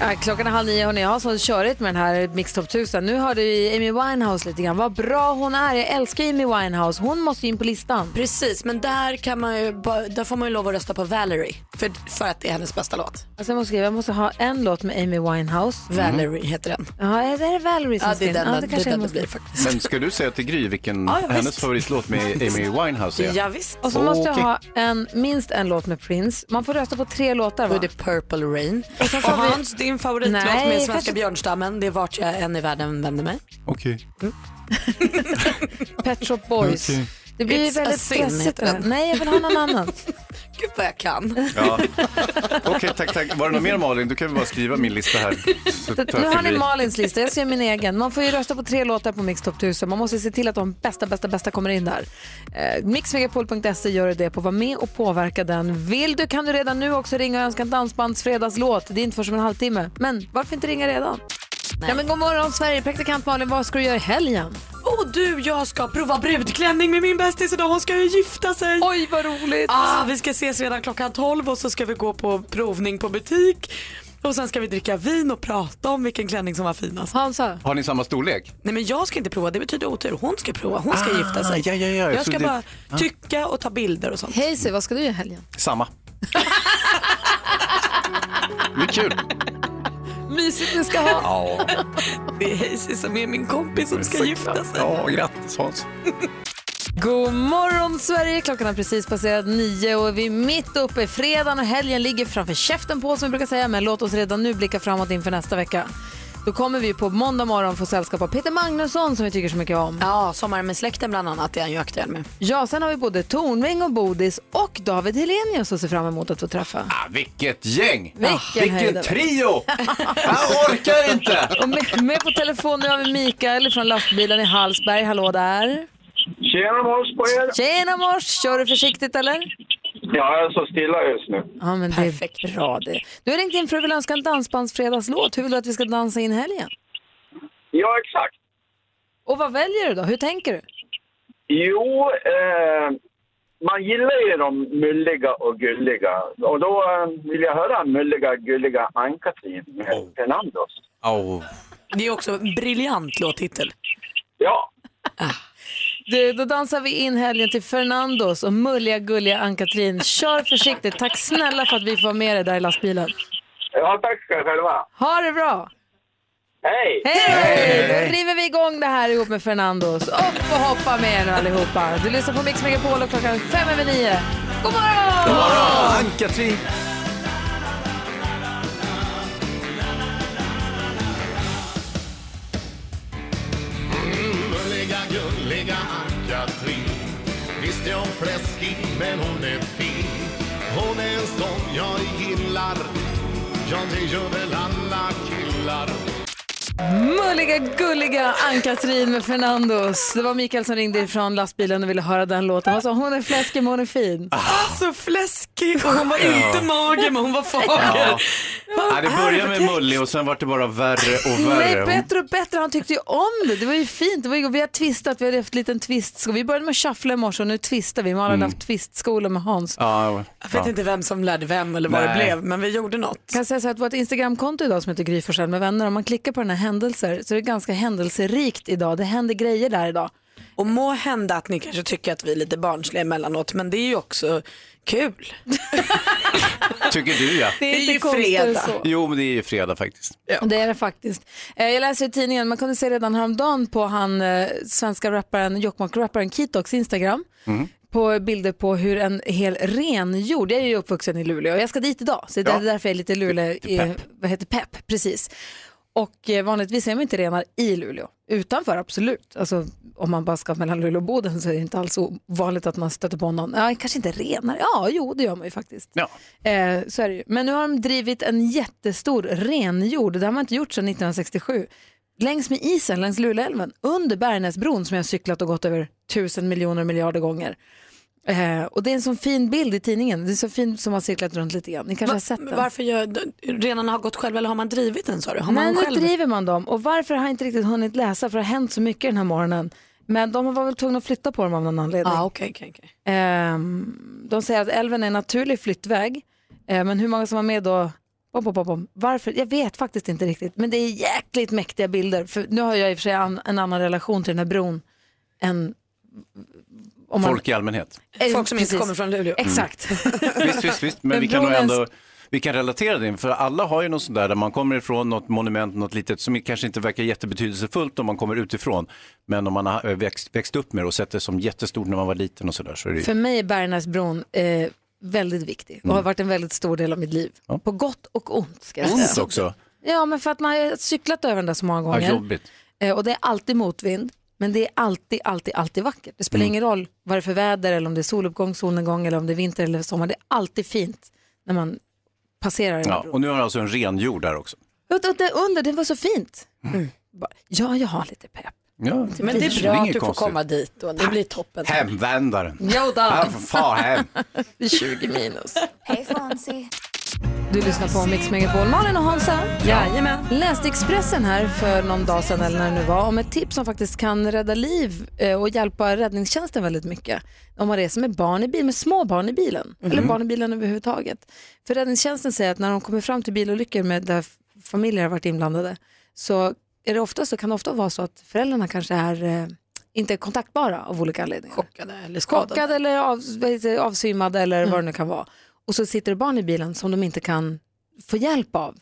[SPEAKER 1] Ja, klockan är halv nio hörni, jag har sån körigt med den här Mix Top 1000. Nu hörde vi Amy Winehouse lite grann. Vad bra hon är, jag älskar Amy Winehouse. Hon måste ju in på listan.
[SPEAKER 2] Precis, men där, kan man ju, ba- där får man ju lov att rösta på Valerie för, för att det är hennes bästa låt.
[SPEAKER 1] Alltså jag, måste skriva, jag måste ha en låt med Amy Winehouse.
[SPEAKER 3] Mm.
[SPEAKER 2] Valerie heter den.
[SPEAKER 1] Ja, är det Valerie som
[SPEAKER 2] Ja,
[SPEAKER 1] ska
[SPEAKER 2] det är
[SPEAKER 1] in?
[SPEAKER 2] den,
[SPEAKER 1] ja,
[SPEAKER 2] det är
[SPEAKER 1] kanske jag
[SPEAKER 2] den det
[SPEAKER 1] måste.
[SPEAKER 2] blir faktiskt.
[SPEAKER 3] Men ska du säga till Gry vilken
[SPEAKER 1] Ja, ja,
[SPEAKER 3] hennes
[SPEAKER 1] visst.
[SPEAKER 3] favoritlåt med Amy Winehouse är?
[SPEAKER 2] Ja, visst.
[SPEAKER 1] Och så måste
[SPEAKER 3] Okej.
[SPEAKER 1] jag ha en, minst en låt med Prince. Man får rösta på tre låtar va? Då är det
[SPEAKER 2] Purple Rain.
[SPEAKER 1] Och sen
[SPEAKER 2] Och
[SPEAKER 1] får vi...
[SPEAKER 2] Hans, din favoritlåt
[SPEAKER 1] Nej,
[SPEAKER 2] med svenska
[SPEAKER 1] kanske-
[SPEAKER 2] björnstammen, det är vart jag än i världen vänder mig. Mm.
[SPEAKER 3] Okej.
[SPEAKER 1] Pet Shop Boys.
[SPEAKER 2] Okej.
[SPEAKER 1] Det blir
[SPEAKER 2] It's a
[SPEAKER 1] väldigt
[SPEAKER 2] sin,
[SPEAKER 1] stressigt.
[SPEAKER 2] heter den.
[SPEAKER 1] Nej, jag vill ha någon annan.
[SPEAKER 2] Gud vad jag kan.
[SPEAKER 3] Ja. Okej, tack, tack. Var det något mer Malin? Du kan väl bara skriva min lista här. Så tar jag
[SPEAKER 1] Nu har ni
[SPEAKER 3] förbi.
[SPEAKER 1] Malins lista, jag ser min egen. Man får ju rösta på tre låtar på Mix Top 1000. Man måste se till att de bästa, bästa, bästa kommer in där. Eh, Mixmegapol.se gör det på. Var med och påverka den. Vill du kan du redan nu också ringa och önska en dansbandsfredagslåt. Det är inte först om en halvtimme. Men varför inte ringa redan? Nej. men god morgon Sverige, praktikant Malin, vad ska du göra i helgen?
[SPEAKER 2] Och du, jag ska prova brudklänning med min bästis idag. Hon ska ju gifta sig.
[SPEAKER 1] Oj, vad roligt.
[SPEAKER 2] Ah, vi ska ses redan klockan 12 och så ska vi gå på provning på butik. Och sen ska vi dricka vin och prata om vilken klänning som var finast.
[SPEAKER 1] Hansa?
[SPEAKER 3] Har ni samma storlek?
[SPEAKER 2] Nej men jag ska inte prova, det betyder otur. Hon ska prova, hon ska
[SPEAKER 3] Ah,
[SPEAKER 2] gifta sig.
[SPEAKER 3] ja, ja, ja.
[SPEAKER 2] Jag
[SPEAKER 3] Så
[SPEAKER 2] ska
[SPEAKER 3] det-
[SPEAKER 2] bara
[SPEAKER 3] Ja.
[SPEAKER 2] tycka och ta bilder och sånt.
[SPEAKER 1] Hejsi, vad ska du göra i helgen?
[SPEAKER 3] Samma. Det är kul.
[SPEAKER 1] Mysigt ni ska ha.
[SPEAKER 3] Ja.
[SPEAKER 2] Det är Hazy som är min kompis som ska
[SPEAKER 3] Exakt.
[SPEAKER 2] gifta sig.
[SPEAKER 3] Ja, grattis Hans.
[SPEAKER 1] God morgon Sverige! Klockan har precis passerat nio och vi är mitt uppe i fredagen och helgen ligger framför käften på oss som vi brukar säga. Men låt oss redan nu blicka framåt inför nästa vecka. Då kommer vi på måndag morgon få sällskap av Peter Magnusson som jag tycker så mycket om.
[SPEAKER 2] Ja, Sommaren med släkten bland annat är han ju aktuell med.
[SPEAKER 1] Ja, sen har vi både Tornving och Bodis och David Helenius att se fram emot att få träffa.
[SPEAKER 3] Ah, vilket gäng! Ah,
[SPEAKER 1] Vilken
[SPEAKER 3] vilken
[SPEAKER 1] höjdare.
[SPEAKER 3] trio! Jag orkar inte!
[SPEAKER 1] Och med, med på telefon nu har vi Mikael från lastbilen i Hallsberg. Hallå där!
[SPEAKER 15] Tjena mors på er!
[SPEAKER 1] Tjena mors! Kör du försiktigt eller?
[SPEAKER 15] Ja, jag står stilla just nu.
[SPEAKER 1] Ja, men det är bra det. Du har ringt in för att du vill önska en dansbandsfredagslåt. Hur vill du att vi ska dansa in helgen?
[SPEAKER 15] Ja, exakt.
[SPEAKER 1] Och vad väljer du då? Hur tänker du?
[SPEAKER 15] Jo, eh, man gillar ju de mulliga och gulliga. Och då eh, vill jag höra mulliga, gulliga Ann-Katrin med Fernandos.
[SPEAKER 3] Oh.
[SPEAKER 2] Det är också en briljant låttitel.
[SPEAKER 15] Ja.
[SPEAKER 1] Du, då dansar vi in helgen till Fernandos och mulliga gulliga Ann-Katrin. Kör försiktigt. Tack snälla för att vi får vara med dig där i lastbilen.
[SPEAKER 15] Ja, tack ska ni själva.
[SPEAKER 1] Ha det bra!
[SPEAKER 15] Hej!
[SPEAKER 1] Hej! Då river vi igång det här ihop med Fernandos. Upp och hoppa med er nu allihopa. Du lyssnar på Mix Megapol och klockan fem över nio. God morgon!
[SPEAKER 3] God morgon! Ann-Katrin!
[SPEAKER 21] Mulliga, gulliga Ann-Katrin Visst är hon fläskig, men hon är fin Hon är en sån jag gillar Ja, det gör väl alla killar
[SPEAKER 1] Mulliga, gulliga Ann-Katrin med Fernandos. Det var Mikael som ringde ifrån lastbilen och ville höra den låten. Han sa hon är fläskig men hon är
[SPEAKER 3] Ah.
[SPEAKER 1] fin. Ah,
[SPEAKER 2] Alltså fläskig och hon var
[SPEAKER 3] inte
[SPEAKER 2] mager men hon var
[SPEAKER 3] Ja. Ja, det
[SPEAKER 1] Vad är det
[SPEAKER 3] började
[SPEAKER 1] för
[SPEAKER 3] med Mulli och sen vart det bara värre och
[SPEAKER 1] Nej,
[SPEAKER 3] värre.
[SPEAKER 1] bättre och bättre. Han tyckte ju om det. Det var ju fint. Det var ju, vi har twistat, vi har haft en liten twist. Så vi började med att shuffla i morse och nu twistar vi. Malin har
[SPEAKER 3] Mm.
[SPEAKER 1] haft twistskola med Hans.
[SPEAKER 3] Ja,
[SPEAKER 2] Jag vet inte vem som lärde vem eller vad
[SPEAKER 3] Nej.
[SPEAKER 2] det blev, men vi gjorde något.
[SPEAKER 1] kan säga så här att vårt Instagramkonto idag som heter Gry Forssell med vänner, om man klickar på den här händelser så är det ganska händelserikt idag. Det händer grejer där idag.
[SPEAKER 2] Och må hända att ni kanske tycker att vi är lite barnsliga emellanåt, men det är ju också kul.
[SPEAKER 3] Tycker du ja.
[SPEAKER 1] Det är inte
[SPEAKER 2] ju
[SPEAKER 1] konstigare
[SPEAKER 2] fredag.
[SPEAKER 1] så.
[SPEAKER 3] Jo, men det är ju fredag faktiskt.
[SPEAKER 1] Det är det faktiskt. Eh, Jag läser i tidningen, man kunde se redan häromdagen på han eh, svenska rapparen, Jokkmokk-rapparen Kitoks Instagram, på bilder på hur en hel rengjord, jag är ju uppvuxen i Luleå och jag ska dit idag, så det är
[SPEAKER 8] Ja.
[SPEAKER 1] därför jag är lite Luleå, i, vad heter pepp, precis. Och eh, vanligtvis är man inte renar i Luleå, utanför absolut. Alltså om man bara ska mellan Luleå och Boden så är det inte alls ovanligt att man stöter på någon, ja kanske inte renar, ja jo det gör man ju faktiskt.
[SPEAKER 3] Ja.
[SPEAKER 1] Eh, så är det ju. Men nu har de drivit en jättestor renjord, det har man inte gjort sedan 1967. Längs med isen, längs Luleälven, under Bergnäsbron som jag har cyklat och gått över tusen miljoner miljarder gånger. Eh, och det är en sån fin bild i tidningen, det är så fin som har cirklat runt lite grann. Ni kanske har sett den?
[SPEAKER 2] Varför gör, renarna har gått själva eller har man drivit den sa du? Har
[SPEAKER 1] Nej,
[SPEAKER 2] man
[SPEAKER 1] nu
[SPEAKER 2] själv?
[SPEAKER 1] driver man dem. Och varför har jag inte riktigt hunnit läsa för det har hänt så mycket den här morgonen. Men de var väl tvungna att flytta på dem av någon anledning.
[SPEAKER 2] Ah, okay, okay, okay.
[SPEAKER 1] Ehm, de säger att älven är en naturlig flyttväg. Eh, men hur många som var med då? Bom, bom, bom, bom. Varför? Jag vet faktiskt inte riktigt. Men det är jäkligt mäktiga bilder. För nu har jag i och för sig an, en annan relation till den här bron än om man-
[SPEAKER 3] Folk i allmänhet.
[SPEAKER 1] Eh,
[SPEAKER 2] Folk som inte
[SPEAKER 1] precis.
[SPEAKER 2] kommer från Luleå. Mm.
[SPEAKER 1] Exakt.
[SPEAKER 3] Visst, visst, visst. Men
[SPEAKER 1] Men
[SPEAKER 3] vi kan nog
[SPEAKER 1] bron är en-
[SPEAKER 3] ändå vi kan relatera det, för alla har ju något sånt där, där man kommer ifrån något monument, något litet som kanske inte verkar jättebetydelsefullt om man kommer utifrån. Men om man har eh, växt, växt upp med det och sett det som jättestort när man var liten och sådär så är det ju...
[SPEAKER 1] För mig är Bergnäsbron eh, väldigt viktig och har varit en väldigt stor del av mitt liv. På gott och ont ska jag
[SPEAKER 3] Mm. Ont
[SPEAKER 1] säga.
[SPEAKER 3] också.
[SPEAKER 1] Ja, men för att man har cyklat över den där så många
[SPEAKER 3] Ja,
[SPEAKER 1] gånger.
[SPEAKER 3] jobbigt.
[SPEAKER 1] Eh, Och det är alltid motvind, men det är alltid, alltid, alltid vackert. Det spelar
[SPEAKER 3] Mm.
[SPEAKER 1] ingen roll vad det är för väder eller om det är soluppgång, solnedgång eller om det är vinter eller sommar. Det är alltid fint när man passerar den här
[SPEAKER 3] Ja,
[SPEAKER 1] bron.
[SPEAKER 3] och nu har jag alltså en rengjord där också.
[SPEAKER 1] Och, och det under, det var så fint.
[SPEAKER 3] Mm.
[SPEAKER 1] Mm. Bara, Ja, jag har lite pepp.
[SPEAKER 3] Ja,
[SPEAKER 1] Men det är bra
[SPEAKER 3] inget
[SPEAKER 1] att du får komma
[SPEAKER 2] dit då, det blir toppen.
[SPEAKER 3] Hemvändaren.
[SPEAKER 1] Jo då.
[SPEAKER 3] Han får far hem.
[SPEAKER 1] Det är 20 minus.
[SPEAKER 17] Hey Fonzie.
[SPEAKER 1] Du lyssnar på Mix Megapol. Malin och Hansa. Jajamän. Läste Expressen här för någon dag sedan eller när det nu var om ett tips som faktiskt kan rädda liv eh, och hjälpa räddningstjänsten väldigt mycket. Om man reser med barn i bil, med små barn i bilen eller barn i bilen överhuvudtaget. För räddningstjänsten säger att när de kommer fram till bilolyckor med där f- familjer har varit inblandade så är det ofta så kan det ofta vara så att föräldrarna kanske är eh, inte är kontaktbara av olika anledningar. Chockade
[SPEAKER 2] eller skadade. Mm.
[SPEAKER 1] Chockade eller av, vad heter det, avsvimmade eller vad det nu kan vara. Och så sitter det barn i bilen som de inte kan få hjälp av.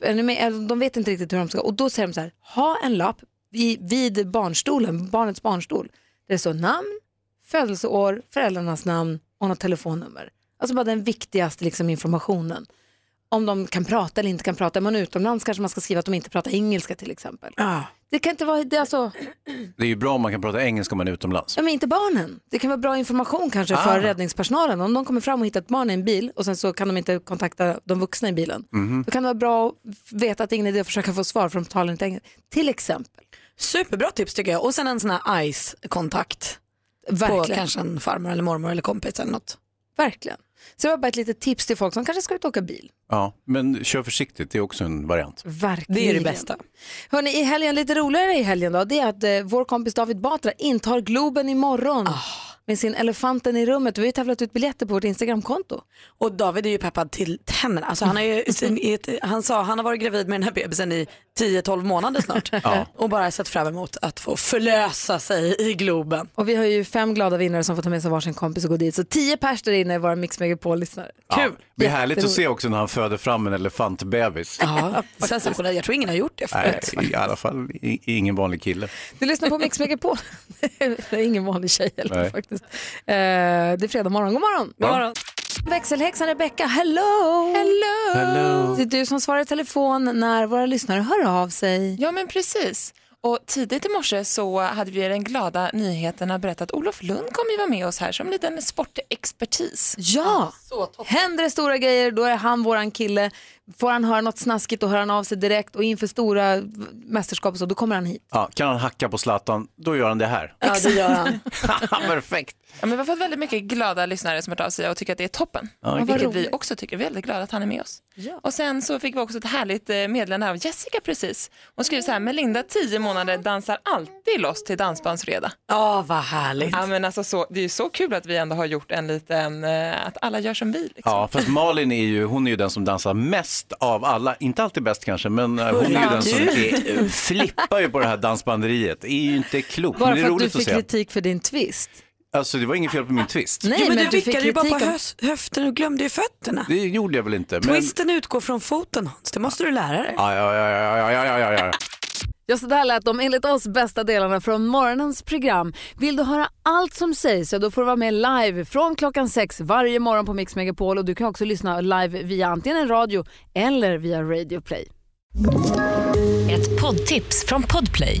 [SPEAKER 1] Är ni med? Eller De vet inte riktigt hur de ska. Och då säger de så här, ha en lapp vid, vid barnstolen, barnets barnstol. Där det står namn, födelseår, föräldrarnas namn och något telefonnummer. Alltså bara den viktigaste liksom, informationen. om de kan prata eller inte kan prata. Är man utomlands kanske man ska skriva att de inte pratar engelska till exempel.
[SPEAKER 2] Ah.
[SPEAKER 1] Det kan inte vara, det är alltså,
[SPEAKER 3] Det är ju bra om man kan prata engelska om man är utomlands.
[SPEAKER 1] ja, men inte barnen. Det kan vara bra information kanske för
[SPEAKER 3] Ah.
[SPEAKER 1] räddningspersonalen. Om de kommer fram och hittar ett barn i en bil och sen så kan de inte kontakta de vuxna i bilen.
[SPEAKER 2] Mm.
[SPEAKER 3] Mhm.
[SPEAKER 1] Då kan det vara bra att veta att det är ingen idé att försöka få svar för de talar inte engelska. Till exempel.
[SPEAKER 2] Superbra tips tycker jag. Och sen en sån här ICE-kontakt. På
[SPEAKER 1] Verkligen.
[SPEAKER 2] kanske en farmor eller mormor eller kompis eller något.
[SPEAKER 1] Verkligen. Så det var bara ett litet tips till folk som kanske ska ut och åka bil.
[SPEAKER 3] Ja, men kör försiktigt, det är också en variant.
[SPEAKER 1] Verkligen.
[SPEAKER 2] Det är det bästa.
[SPEAKER 1] Hörrni, i helgen, lite roligare i helgen då, det är att eh, vår kompis David Batra intar Globen imorgon
[SPEAKER 2] Ah.
[SPEAKER 1] med sin Elefanten i rummet. Vi har ju tävlat ut biljetter på vårt Instagramkonto.
[SPEAKER 2] Och David är ju peppad till tänderna. Alltså han, är ju sin, i ett, han sa han har varit gravid med den här bebisen i 10-12 månader snart.
[SPEAKER 1] Ja.
[SPEAKER 2] Och bara sett fram emot att få förlösa sig i Globen.
[SPEAKER 1] Och vi har ju fem glada vinnare som får ta med sig varsin kompis och gå dit. Så tio pers där inne är våra Mix Megapol-lyssnare.
[SPEAKER 3] Ja, det blir härligt att se också när han föder fram en elefantbebis.
[SPEAKER 2] Ja, sensationellt. Jag tror ingen har gjort det
[SPEAKER 3] Nej,
[SPEAKER 2] förut.
[SPEAKER 3] i alla fall i- ingen vanlig kille.
[SPEAKER 1] Du lyssnar på Mix Megapol. det är ingen vanlig tjej heller
[SPEAKER 3] Nej.
[SPEAKER 1] faktiskt. Eh, det är fredag morgon. God morgon.
[SPEAKER 3] God morgon.
[SPEAKER 1] Växelhäxan Rebecca, hello! hello!
[SPEAKER 22] Hello.
[SPEAKER 1] Det är du som svarar i telefon när våra lyssnare hör av sig.
[SPEAKER 22] Ja, men precis. Och tidigt i morse så hade vi den glada nyheten att berätta att Olof Lund kommer ju vara med oss här som en liten sportexpertis.
[SPEAKER 1] Ja! Händer det stora grejer, då är han våran kille. Får han höra något snaskigt, då hör han av sig direkt. Och inför stora v- mästerskap och så, då kommer han hit.
[SPEAKER 3] Ja, kan han hacka på Zlatan, då gör han det här.
[SPEAKER 1] Ja, det gör han.
[SPEAKER 3] Perfekt.
[SPEAKER 22] Ja, men vi har fått väldigt mycket glada lyssnare som hört av sig och tycker att det är toppen.
[SPEAKER 3] Ja, vad
[SPEAKER 22] vilket vi
[SPEAKER 3] roligt.
[SPEAKER 22] också tycker. Vi är väldigt glada att han är med oss. Och sen så fick vi också ett härligt eh, meddelande av Jessica precis. Hon skriver så här, Melinda 10 månader dansar alltid loss till Dansbandsfredag.
[SPEAKER 2] Ja, vad härligt.
[SPEAKER 22] Ja, men alltså så, det är ju så kul att vi ändå har gjort en liten, eh, att alla gör som vi. Liksom.
[SPEAKER 3] Ja, fast Malin är ju, hon är ju den som dansar mest av alla. Inte alltid bäst kanske, men eh, hon är ju
[SPEAKER 22] Hurra,
[SPEAKER 3] den som
[SPEAKER 22] du.
[SPEAKER 3] är, eh, flippar ju på det här dansbanderiet. Det är ju inte klokt.
[SPEAKER 1] Bara
[SPEAKER 3] men det är
[SPEAKER 1] för att du
[SPEAKER 3] roligt
[SPEAKER 1] fick
[SPEAKER 3] att se.
[SPEAKER 1] kritik för din twist.
[SPEAKER 3] Alltså, det var inget fel på min twist.
[SPEAKER 1] Nej, Jo, men men du du fick
[SPEAKER 2] Vickade ju bara på
[SPEAKER 1] kritik av-
[SPEAKER 2] hös- höften och glömde ju fötterna.
[SPEAKER 3] Det gjorde jag väl inte. Men...
[SPEAKER 2] Twisten utgår från foten Hans, det måste du lära dig.
[SPEAKER 3] Ja, ja, ja, ja, ja, ja, ja, ja.
[SPEAKER 23] Ja, så där lät de enligt oss bästa delarna från morgonens program. Vill du höra allt som sägs så då får du vara med live från klockan sex varje morgon på Mix Megapol och du kan också lyssna live via antingen en radio eller via Radio Play.
[SPEAKER 24] Ett poddtips från Podplay.